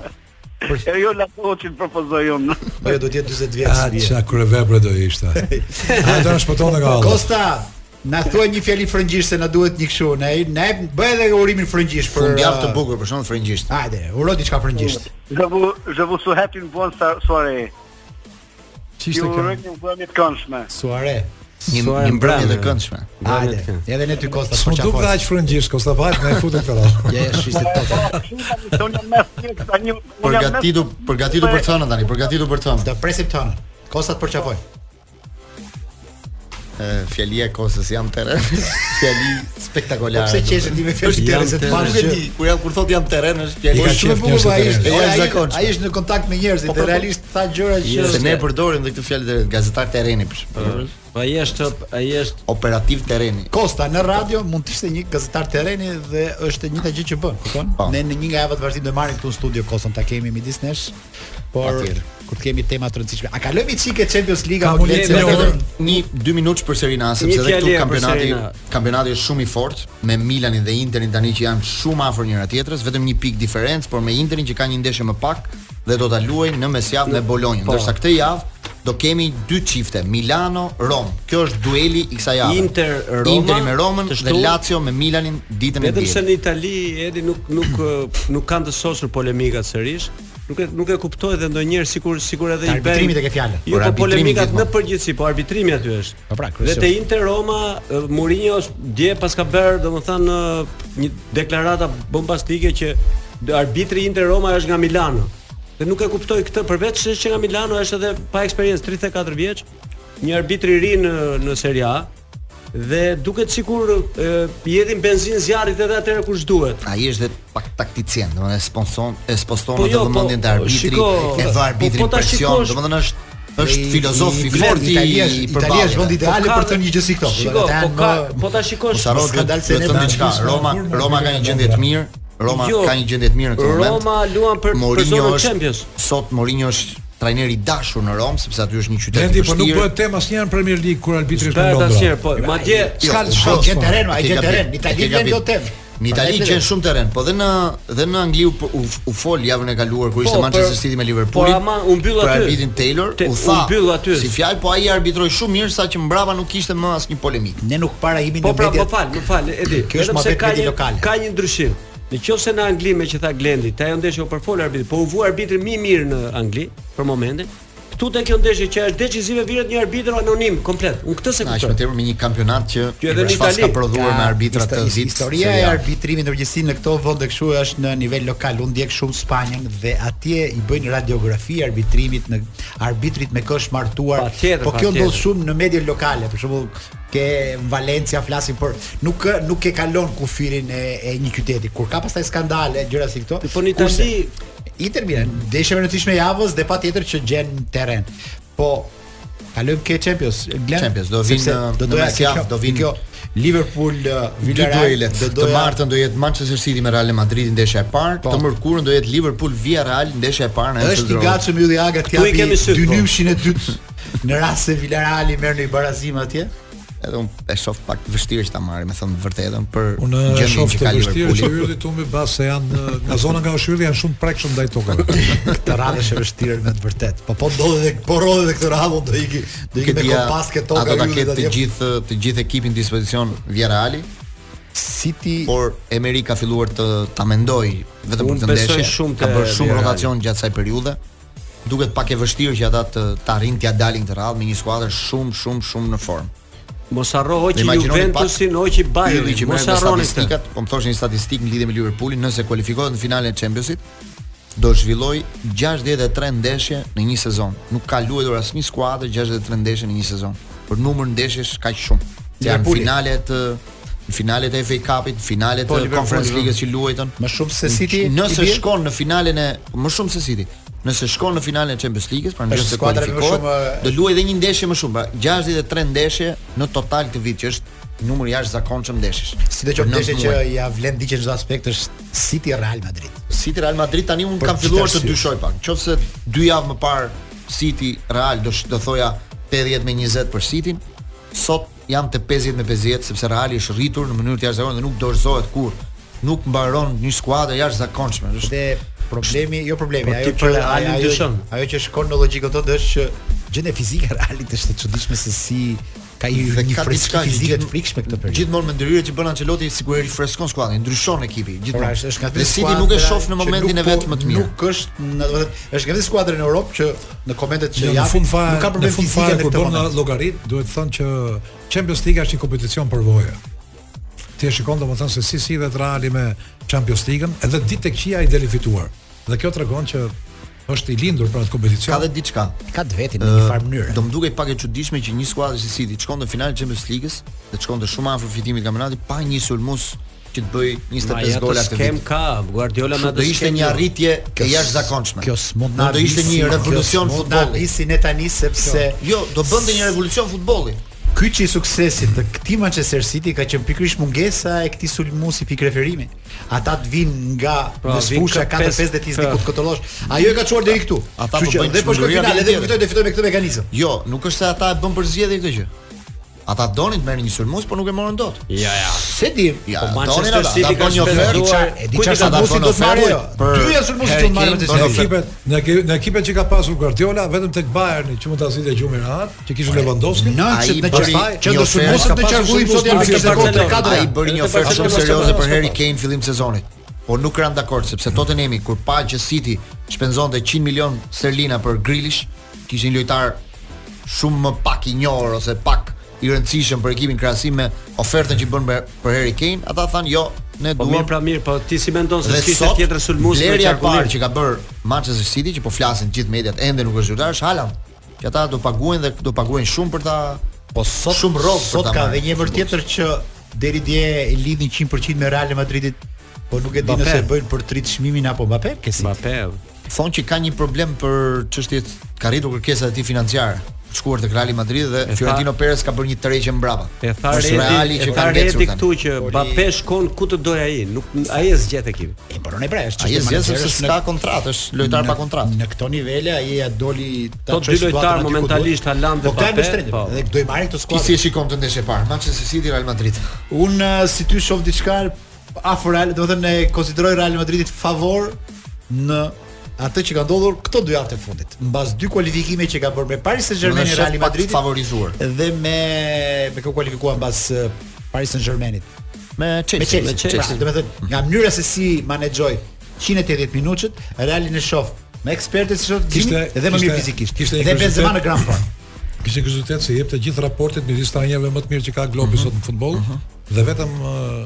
G: E jo la që propozoj unë.
B: Po jo do të jetë 40
C: A
B: vjeç.
C: çka kryevepre do ishte. A do na shpëtonte nga Allah.
B: Kosta, na thuaj një fjali frëngjisht se na duhet një kështu, ne ne bëj edhe urimin frëngjisht për
A: Fundjavë të
B: uh,
A: bukur për shkak frëngjisht.
B: Hajde, uro diçka frëngjisht.
G: Je vous je vous souhaite une bonne so- soirée.
C: Ç'ishte
B: Jo,
G: Ju uroj
C: kjo?
G: një mbrëmje të këndshme.
B: Suare.
A: Një
D: Suar
A: një mbrëmje
D: mbrëmje.
A: të këndshme.
B: Hajde. Edhe ne ty Kosta
C: S'u
B: po
C: duk
B: çfarë.
C: dhe aq frëngjisht Kosta vahet na e futën këta.
B: Ja, ja, shiste tot.
G: Tonë mes një tani unë jam mes
A: Përgatitur, përgatitur për thënë tani, përgatitur për thënë.
B: Do presim tonë. Kosta të përçafoj.
A: Ë, Fjalia e Kostës jam terren. Fjali spektakolare.
B: Po Pse qeshe ti me fjalë tjera se të
A: Pa nuk
B: bashkë
A: e di, kur jam kur thot jam terren është fjali.
C: I ka
B: Po shumë e
C: qef
B: bukur
C: njerëz
B: po ai
C: të
B: është.
A: tjerë.
B: Ai
A: E
B: është
A: jashtëzakonshme.
B: ai është në kontakt me njerëzit dhe realisht tha gjëra që
A: Se ne e përdorim dhe këtë fjalë të gazetar terreni për shemb, për
D: Ai është ai është
A: operativ terreni.
B: Kosta në radio mund të ishte një gazetar terreni dhe është e njëjta gjë që bën, kupton?
A: Po.
B: Ne në një nga javët vazhdim do marrim këtu në studio Kostën ta kemi midis nesh. Por
A: Atëherë.
B: kur të kemi tema të rëndësishme. A kalojmë çike Champions League
C: Ka
B: apo
C: mundje
B: le të
C: me
B: caktojmë?
C: orën.
A: Një 2 minutë për Serie A, sepse
D: Një
A: edhe
D: fjali
A: këtu
D: e për
A: kampionati
D: Serie A.
A: kampionati është shumë i fortë me Milanin dhe Interin tani që janë shumë afër njëra tjetrës, vetëm një pikë diferencë, por me Interin që ka një ndeshje më pak dhe do ta luajnë në mesjavë me Bolonjën.
D: Po.
A: Ndërsa këtë javë do kemi dy çifte, Milano Rom. Kjo është dueli i kësaj jave.
D: Inter Roma,
A: Interi me Romën
D: të
A: dhe
D: shtunë.
A: Lazio me Milanin ditën e
D: vetëm se
A: diellit.
D: në Itali edi nuk nuk ë, nuk kanë të sosur polemikat sërish. Nuk e nuk e kuptoj dhe ndonjëherë sikur sikur edhe
B: Të
D: i bën.
B: arbitrimit e ke fjallën.
D: Jo,
A: Por
D: po
A: arbitrimi
D: polemikat
A: gjithmonë.
D: në përgjithësi, po arbitrimi aty është.
B: Po pra,
D: Dhe
B: kryesor.
D: te Inter Roma ë, Mourinho është- dje pas ka bërë domethënë ë, një deklarata bombastike që d- arbitri i Inter Roma është nga Milano. Dhe nuk e kuptoj këtë përveç se që nga Milano është edhe pa eksperiencë 34 vjeç, një arbitër i ri në në Serie A dhe duket sikur e, i hedhin benzinë zjarrit edhe atëherë kur s'duhet.
A: Pra, Ai është dhe pak takticien, domethënë e sponson e sponson
D: Po
A: atë
D: jo, po,
A: vëmendjen të arbitrit,
D: shiko,
A: e vë arbitrin
D: po, po ta
A: presion,
D: shikosh-
A: domethënë është është
B: I-
A: filozof i
B: i-
A: fortë i
B: Italia është- Italia është
A: përballjes.
B: vendi ideal
D: Po ka-
B: për të thënë një gjë si këto.
D: Shiko,
B: Ata
D: po
B: janë
D: ka,
B: më-
D: po ta shikosh.
A: Mos harro duhet
B: skandal se
A: duhet
B: ne
A: të thënë
B: na
A: diçka.
B: gjysmë
A: Roma,
C: kur në
A: Roma ka një
C: Liga
A: gjendje të mirë. Roma
D: Jo,
A: ka një gjendje të mirë në këtë moment.
D: Roma luan për- për zonën Champions.
A: Sot Mourinho është trajner i dashur në Rom sepse aty është një qytet
C: Lendi,
A: i
C: po nuk
A: vështirë.
C: bëhet tema asnjëherë në Premier League kur arbitri është në
D: Bëhet
C: Londër.
D: asnjëherë, po madje
A: Jo,
C: S'ka
A: po,
C: shans,
B: gjen
C: po.
B: teren, ma,
A: E
B: e
A: ke
B: gjen
A: gabim,
B: teren. Në
A: e
B: Itali
A: ke
B: gjen
A: gabim.
B: do tem.
A: Në Itali
B: Prandaj
A: gjen
B: flet.
A: shumë teren, po dhe në dhe në Angli u, u, u fol javën e kaluar kur ishte
D: Po,
A: Manchester
D: për-
A: City me Liverpoolin.
D: por ama u mbyll
A: për
D: aty.
A: arbitrin Po Taylor,
D: Te-
A: u
D: u
A: tha.
D: mbyll aty.
A: Si fjalë, po ai arbitroi shumë mirë saqë mbrapa nuk kishte më asnjë polemik.
B: Ne nuk parahimi
D: Po
B: në
D: pra,
B: media.
D: më fal, më fal, Edi.
B: Kjo është
D: vetëm se
B: mohabet
D: ka
B: medi
D: një-
B: lokale.
D: Ka një ndryshim. Në qoftë se në Angli me që tha Glendi, te ajo ndeshje u përfol arbitri, po u vu arbitri më i mirë në Angli për momentin. Këtu te kjo ndeshje që është decisive viret një arbitër anonim komplet. Unë këtë se
A: Na është më
D: kuptoj.
A: tepër me një kampionat që
D: Që edhe në
A: Shfas
D: Itali
A: ka prodhuar
B: Ka
A: me arbitra
B: histo-
A: të
B: his-
A: vit.
B: Historia
A: Serie
B: e
A: A.
B: arbitrimit në përgjithësi në këto vende kështu është në nivel lokal. Unë ndjek shumë Spanjën dhe atje i bëjnë radiografi arbitrimit në arbitrit me kësh martuar.
D: Patjetër,
B: po kjo
D: patjetër.
B: ndodh shumë në media lokale. Për shembull, ke në Valencia flasin për nuk nuk e kalon kufirin e, e një qyteti. Kur ka pastaj skandale, gjëra si këto.
D: Po në Itali-
B: kurse Inter Milan, ndeshje e rëndësishme e javës dhe patjetër që gjen terren. Po kalojmë ke Champions. Glenn,
A: Champions, do
B: sepse
A: vinë,
B: do
A: në
B: doja
A: mes javë,
B: kjo-
A: do vinë-
B: kjo Liverpool uh,
A: Dy duele. Të martën do jetë Manchester City me Real Madrid ndeshja e parë,
B: Po.
A: të mërkurën do jetë Liverpool Villarreal ndeshja e parë në
B: është i
A: Anfield Road.
B: gatshëm Ylli Aga
D: Këtu i
B: t'japi
D: kemi syt, po.
B: dynymshin e dytë në rast se Villarreali merr në barazim atje.
A: Edhe unë e shoh pak të vështirë që ta marrim, me thënë të vërtetën, për
C: Unë e
A: gjendjen
C: shoh
A: që
C: Po të
A: ka
C: vështirë që
A: Liverpooli.
C: ylli tumbi bas se janë eh, nga zona nga është ylli janë shumë prekshëm ndaj tokave.
B: Këtë radhë është e vështirë me të vërtet. Po po ndodhet dhe po rrodhet dhe këtë radhë do iki do iki me
A: Këtia,
B: kompas ke
A: a
B: toka
A: do ta
B: Ylli
A: ketë
B: atje.
A: të gjithë të gjithë ekipin në dispozicion Villarreali,
B: City
A: por Emery ka filluar të ta mendoj vetëm për
D: Unë
A: këtë
D: besoj
A: ndeshje.
D: shumë
A: ka
D: te
A: bërë shumë
D: Villarreali.
A: rotacion gjatë kësaj periudhe. Duket pak e vështirë që ata të të arrin t'ia dalin këtë radhë me një skuadër shumë shumë shumë në formë.
D: Mos harro hoqi
A: Dhe imagjinoni pak
D: Juventusin, hoqi
A: Ylli që
D: Bayernin, mos
A: merr me
D: harroni këtë.
A: statistikat, po më thoshë një statistikë në lidhje me Liverpoolin, nëse kualifikohet në finalen e Championsit, do zhvilloj 63 ndeshje në një sezon. Nuk ka luajtur asnjë skuadër 63 ndeshje në një sezon. Për numër ndeshjesh kaq shumë. Që janë
B: Liverpooli.
A: finale të në finalet e FA Cupit, në finalet
B: Po,
A: e
B: Liverpooli,
A: Conference
B: po.
A: Ligës që luajtën.
B: Më shumë se City, i
A: nëse
B: bie?
A: shkon në finalen e më shumë se City. Nëse shkon në finalen e Champions Leagues, pra
B: Është
A: nëse
B: skuadra me më
A: kualifikohet,
B: shumë,
A: do luajë edhe një ndeshje më shumë, pra 63 ndeshje në total këtë vit që është numër jashtëzakonshëm ndeshjesh.
B: sidoqë
A: Për nëntë
B: ndeshja që
A: muaj.
B: ja vlen diçka në çdo aspekt është City Real Madrid.
A: City Real Madrid tani un
B: Për
A: kam
B: çfarë
A: filluar të
B: arsye?
A: dyshoj pak. Nëse dy javë më parë City Real do sh- do thoja 80 me 20 për City-n, sot jam te 50 me 50 sepse Reali është rritur në mënyrë të jashtëzakonshme dhe nuk dorëzohet kur. Nuk mbaron një skuadër jashtëzakonshme. Është
B: Dhe problemi, jo problemi,
D: Po,
B: ajo
D: ti
B: që
D: për Realin
B: ajo-
D: dyshon.
B: ajo që shkon në logjikën tonë është që gjendja fizike e Realit është e çuditshme se si ka i
A: dhe
B: një
A: ka
B: freskë
A: diçka që
B: fizike të
A: gjithm-
B: frikshme këtë periudhë.
A: Gjithmonë me ndryrë që bën Ancelotti sigurisht rifreskon skuadrën, ndryshon ekipi,
B: Ora
A: gjithmonë.
B: Pra, është është nga
A: Dhe City nuk e shoh në momentin e vet më të mirë.
B: po Nuk është, në- do të thënë, është nga vetë skuadra në Europë që në komentet që
C: Që në
B: japin,
C: fund fare,
B: nuk ka
C: në
B: problem
C: fund
B: fizike
C: fare
B: në
C: kur
B: këtë
C: bën
B: moment.
C: llogarit, duhet të thënë që Champions League është një kompeticion përvoje. Ti e shikon domethënë se si sillet Reali me Champions League-ën, edhe ditë tek qia i deli fituar. Dhe kjo tregon që është i lindur për atë kompeticion.
A: Ka dhe diçka.
B: Ka të vetin në një farë mënyrë.
A: Do më dukej pak e çuditshme që një skuadër si City të shkon në finalen e Champions League-s dhe të shkon të shumë afër fitimit të kampionatit pa një sulmues që të bëj
D: Ma
A: 25
D: ja të
A: gola këtë
D: skem
A: vit.
D: ka, Guardiola me
A: Kështu
D: atë
A: do ishte
D: skem
A: një
D: jo.
A: arritje e
B: s-
A: jashtëzakonshme.
B: Kjo s'mund
A: Do ishte një revolucion futbolli.
B: Nisi ne tani sepse
A: Jo, do bënte një revolucion futbolli.
B: Kyçi i suksesit të këtij Manchester City ka qenë pikërisht mungesa e këtij sulmusi pikë referimi. Ata të vinë nga
D: Pra,
B: pra,
D: vinë
B: fusha
D: ka
B: 4-5
D: pesë-
B: dhe ti s'di ku të kotollosh. Ajo e ka çuar deri këtu.
A: Ata
B: Kështu
A: po
B: që
A: bëjnë
B: dhe po shkon
A: çmendurja
B: finale
A: vjetër.
B: dhe do fitoj dhe fitoj me këtë mekanizëm.
A: Jo, nuk është se ata e bën për zgjedhje këtë gjë. Ata donin të merrin një sulmues, por nuk e morën dot.
D: Ja, ja.
B: Se di,
A: Ja,
D: Po, Manchester
A: donin ata, ata
D: City ka
A: bën një
D: shpenzuar-
A: ofertë.
B: Diçka- e diçka
A: Kujt i ka
B: sulmuesit
A: bërë
B: do të marrë
A: ofertën?
B: jo.
A: Për
B: Dy janë sulmuesit do të
A: Harry
B: marrë
A: Kane,
B: Manchester
C: Në
A: donin ofertën.
C: ekipet, në ekipet, në ekipet që ka pasur Guardiola, vetëm tek Bayerni që mund ta zgjidhë gjumin rahat, që kishte Lewandowski.
B: Në
A: Ai
B: që në
A: bëri
B: qërfaj, që
A: një
B: do
A: ofertë,
B: sulmosët
C: ka
B: në
C: pasur
B: qarkullim
C: sulmos
B: sot janë
D: pas
B: fikse
D: Barcelona.
B: kohë të
D: Ai
A: Ai
B: kadra.
A: bëri një
D: Edhe
A: ofertë
D: Barcelona
A: shumë
D: s'ka
A: serioze
D: pas,
A: për
D: s'ka
A: Harry
D: pas.
A: Kane fillim sezonit. Por nuk ran dakord sepse Tottenhami kur pa që City shpenzonte 100 milion sterlina për Grealish, kishte një lojtar shumë më pak i njohur ose pak i rëndësishëm për ekipin krahasim me ofertën që bën për për Harry Kane, ata thanë jo, ne
D: Po
A: duam
D: mirë, pra mirë, po ti si mendon se
A: Dhe
D: s'kishte
A: sot
D: tjetër sulmues me
A: blerja e parë
D: qarkullim?
A: që ka bër Manchester City që po flasin gjithë mediat ende nuk është zyrtar, është Haaland. Që ata do paguajnë dhe do paguajnë shumë për ta po sot shumë rrobë për
B: Sot
A: ta
B: ka
A: marrë.
B: dhe një emër tjetër që deri dje e lidhin 100% me Real Madridit Po nuk e di
H: Mbappé.
B: nëse bëjnë për trit çmimin apo Mbappé, ke si.
H: Mbappé.
A: Thonë që ka një problem për çështjet ka rritur kërkesa e tij financiare. Të Shkuar tek Real Madrid dhe
H: tha-
A: Fiorentino Perez ka bërë një tërheqje mbrapa.
H: E tha
A: Është Reali
H: Redi,
A: që
H: e
A: ka
H: tha
A: ndecur tani.
H: Redi këtu që Mbappé shkon ku të doj ai, nuk ai e zgjet ekipin.
B: E bëron e pra, është
A: Ai e
B: çështje
A: zgjedh sepse
B: menaxherësh
A: s'ka kontratë, është lojtar pa kontratë.
B: Në këto nivele ai ja doli ta
H: Këto dy lojtarë momentalisht, Haaland dhe Mbappé, po.
B: Dhe do i marrin këto
A: Ti si
B: skuadra.
A: e shikon të ndeshje e parë? Manchester City Real Madrid.
B: Un uh, si ty shoh diçka afër Real, domethënë e konsideroj Real Madridit favor në atë që ka ndodhur këto dy javë të fundit. Mbas dy kualifikime që ka bërë me Paris Saint-Germain
A: Domethënë,
B: e
A: shoh
B: Real
A: pak
B: Madridit
A: favorizuar.
B: dhe me me kë kualifikuan mbas eh, Paris Saint-Germainit.
A: Me Chelsea,
B: me Chelsea.
A: me Chelsea.
B: Pra, domethënë, nga mënyra se si menaxhoi 180 minuçët, Realin e shoh me ekspertë si shoh
C: Kishte-
B: Gjini dhe më mirë
C: kishte-
B: fizikisht.
C: kishte një
B: Dhe Benzema
C: kuriozitet.
B: në Grand Prix.
C: Kishte kuriozitet se jep të gjithë raportet midis trajnerëve më të mirë që ka globi sot në futboll dhe vetëm uh,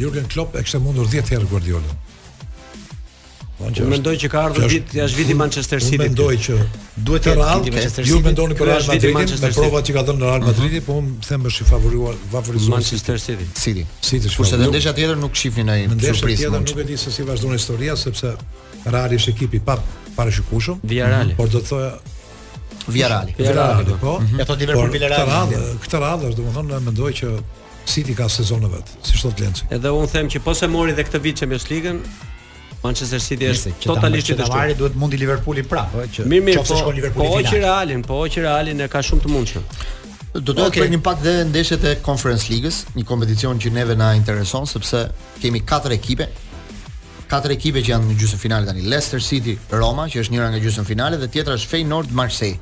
C: Jurgen Klopp e kishte mundur 10 herë Guardiola. Unë
H: Unë mendoj që ka ardhur vit, jashtë viti Manchester City.
C: Unë mendoj që
B: Duhet
C: të
B: të jetë
C: Real,
B: viti Manchester
C: ju
B: City.
C: mendoni për
H: Ky
C: Real
H: është viti
C: Madridin me
H: Manchester Mhm.
C: provat që ka dhënë në Real Madridi, po unë them është i favoruar, favorizuar
H: Manchester City.
A: City.
C: City. po,
A: Kurse të
C: Nuk-
A: ndeshja tjetër nuk shifnin ai
C: Në ndeshje
A: surprizë.
C: tjetër
A: mund
C: nuk
A: që-
C: e di se si vazhdon historia sepse Reali është ekipi pa parashikueshëm.
H: Villarreal.
C: Por do të thoya
A: Villarreal.
H: Villarreal,
C: Villarreal, po.
B: Ja thot Liverpool Villarreal.
C: Këtë radhë, këtë radhë është domethënë mendoj që City ka sezonin e vet, si thot Lenci.
H: Edhe unë them që po se mori dhe këtë vit Champions League-ën, Manchester City
B: Nëse
H: është totalisht i dështuar.
B: Marri duhet mundi Liverpoolin prapë, ëh, që
H: Mirë, mirë,
B: qoftë
H: po,
B: shkon Liverpooli
H: po
B: në
H: që
B: final.
H: Realin, po që Realin e ka shumë të mundshëm.
A: Do të okay.
B: Okej.
A: bëjmë një pak dhe ndeshjet e Conference League-s, një kompeticion që neve na intereson sepse kemi katër ekipe. Katër ekipe që janë në gjysmëfinale tani. Leicester City, Roma, që është njëra nga gjysmëfinalet dhe tjetra është Feyenoord Marseille.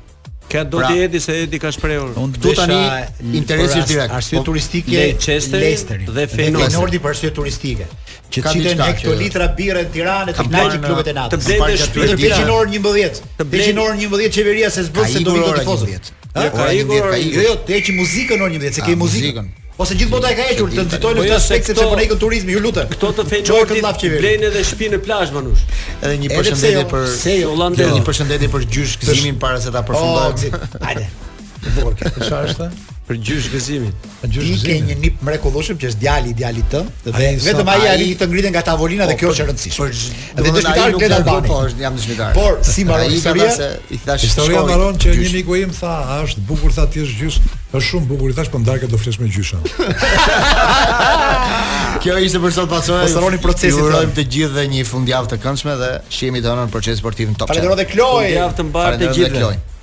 H: Kjo do
A: Pra-
H: të Edi se Edi ka shprehur.
B: Unë
A: Këtu tani
B: desha
A: interesi
B: për
A: është direkt.
B: ars- Arsye
A: Po,
B: turistike
H: Leicesteri
B: Leicesteri
H: dhe Feyenoordi.
B: Feyenoordi për arsye turistike. Që
A: Ka
B: çiten
A: diçka
B: me këto
A: që-
B: litra birë në Tiranë të
A: Kam
B: plagji
A: parë në-
B: klubet e
H: Të
B: natës.
A: blej-
H: blejnë
A: parë
H: në
A: që
H: shtëpi.
B: Vetëm
A: Tiranë.
B: peshin orën 11.
H: Të blej-
B: Peshin orën 11 qeveria se
A: Ka
B: zbën se do
A: ikur
B: vi
A: ora
B: të tifozët.
A: 11.
B: Ha?
A: Jo, ka
H: Ka ikur
A: ikur
H: ora
A: ka
B: Jo,
A: ikur.
B: jo, të heqim muzikën orën 11, se ke
A: Ah,
B: muzikën.
A: muzikën.
B: Ose gjithë bota e ka hequr, të nxitojnë
H: Po
B: këtë
H: jo, se
B: aspekt sepse
H: këto-
B: po ne ikën turizmi, ju lutem.
H: Këto
B: Çoj
H: të
B: këtë llaf
H: Feyenoordit
B: qeveri.
H: blejnë edhe shtëpi në plazh manush.
A: Edhe një
B: Edhe pse
A: përshëndetje
B: jo,
A: për
B: pse jo,
H: holandez.
A: Një përshëndetje për gjysh gëzimin para se ta
B: Oh,
A: përfundojmë.
B: gzi- Hajde.
C: Por çfarë është?
H: Për gjysh gëzimin.
B: Ti ke një nip mrekullueshëm që është djali i djalit tënd dhe
C: Ai sa-
B: vetëm ai Po,
A: ai-
B: arrin të ngrihen nga tavolina dhe kjo është e rëndësishme. Dhe
A: domethënë ai
B: dëshmitar
A: nuk
B: Gled
A: largohet,
B: Albani.
A: Po, është jam dëshmitar.
B: Por, si mbaron
A: Ai ka
B: historia?
A: thënë se I thash
C: Historia
A: shkoj,
C: mbaron që një
A: gjysh.
C: miku im tha, "A është bukur tha ti është gjysh." Është shumë bukur i thash, po ndarka do flesh me gjyshin.
A: Kjo ishte për sot pasojë.
B: Mos harroni Po, procesin,
A: Ju urojmë
B: thonë.
A: të gjithë dhe një fundjavë të këndshme dhe shihemi të hënën në proces sportiv në Top Channel.
B: Falenderoj dhe Kloj.
H: Javë të mbarë të
A: Falenderoj dhe
H: gjithëve.
A: Kloj.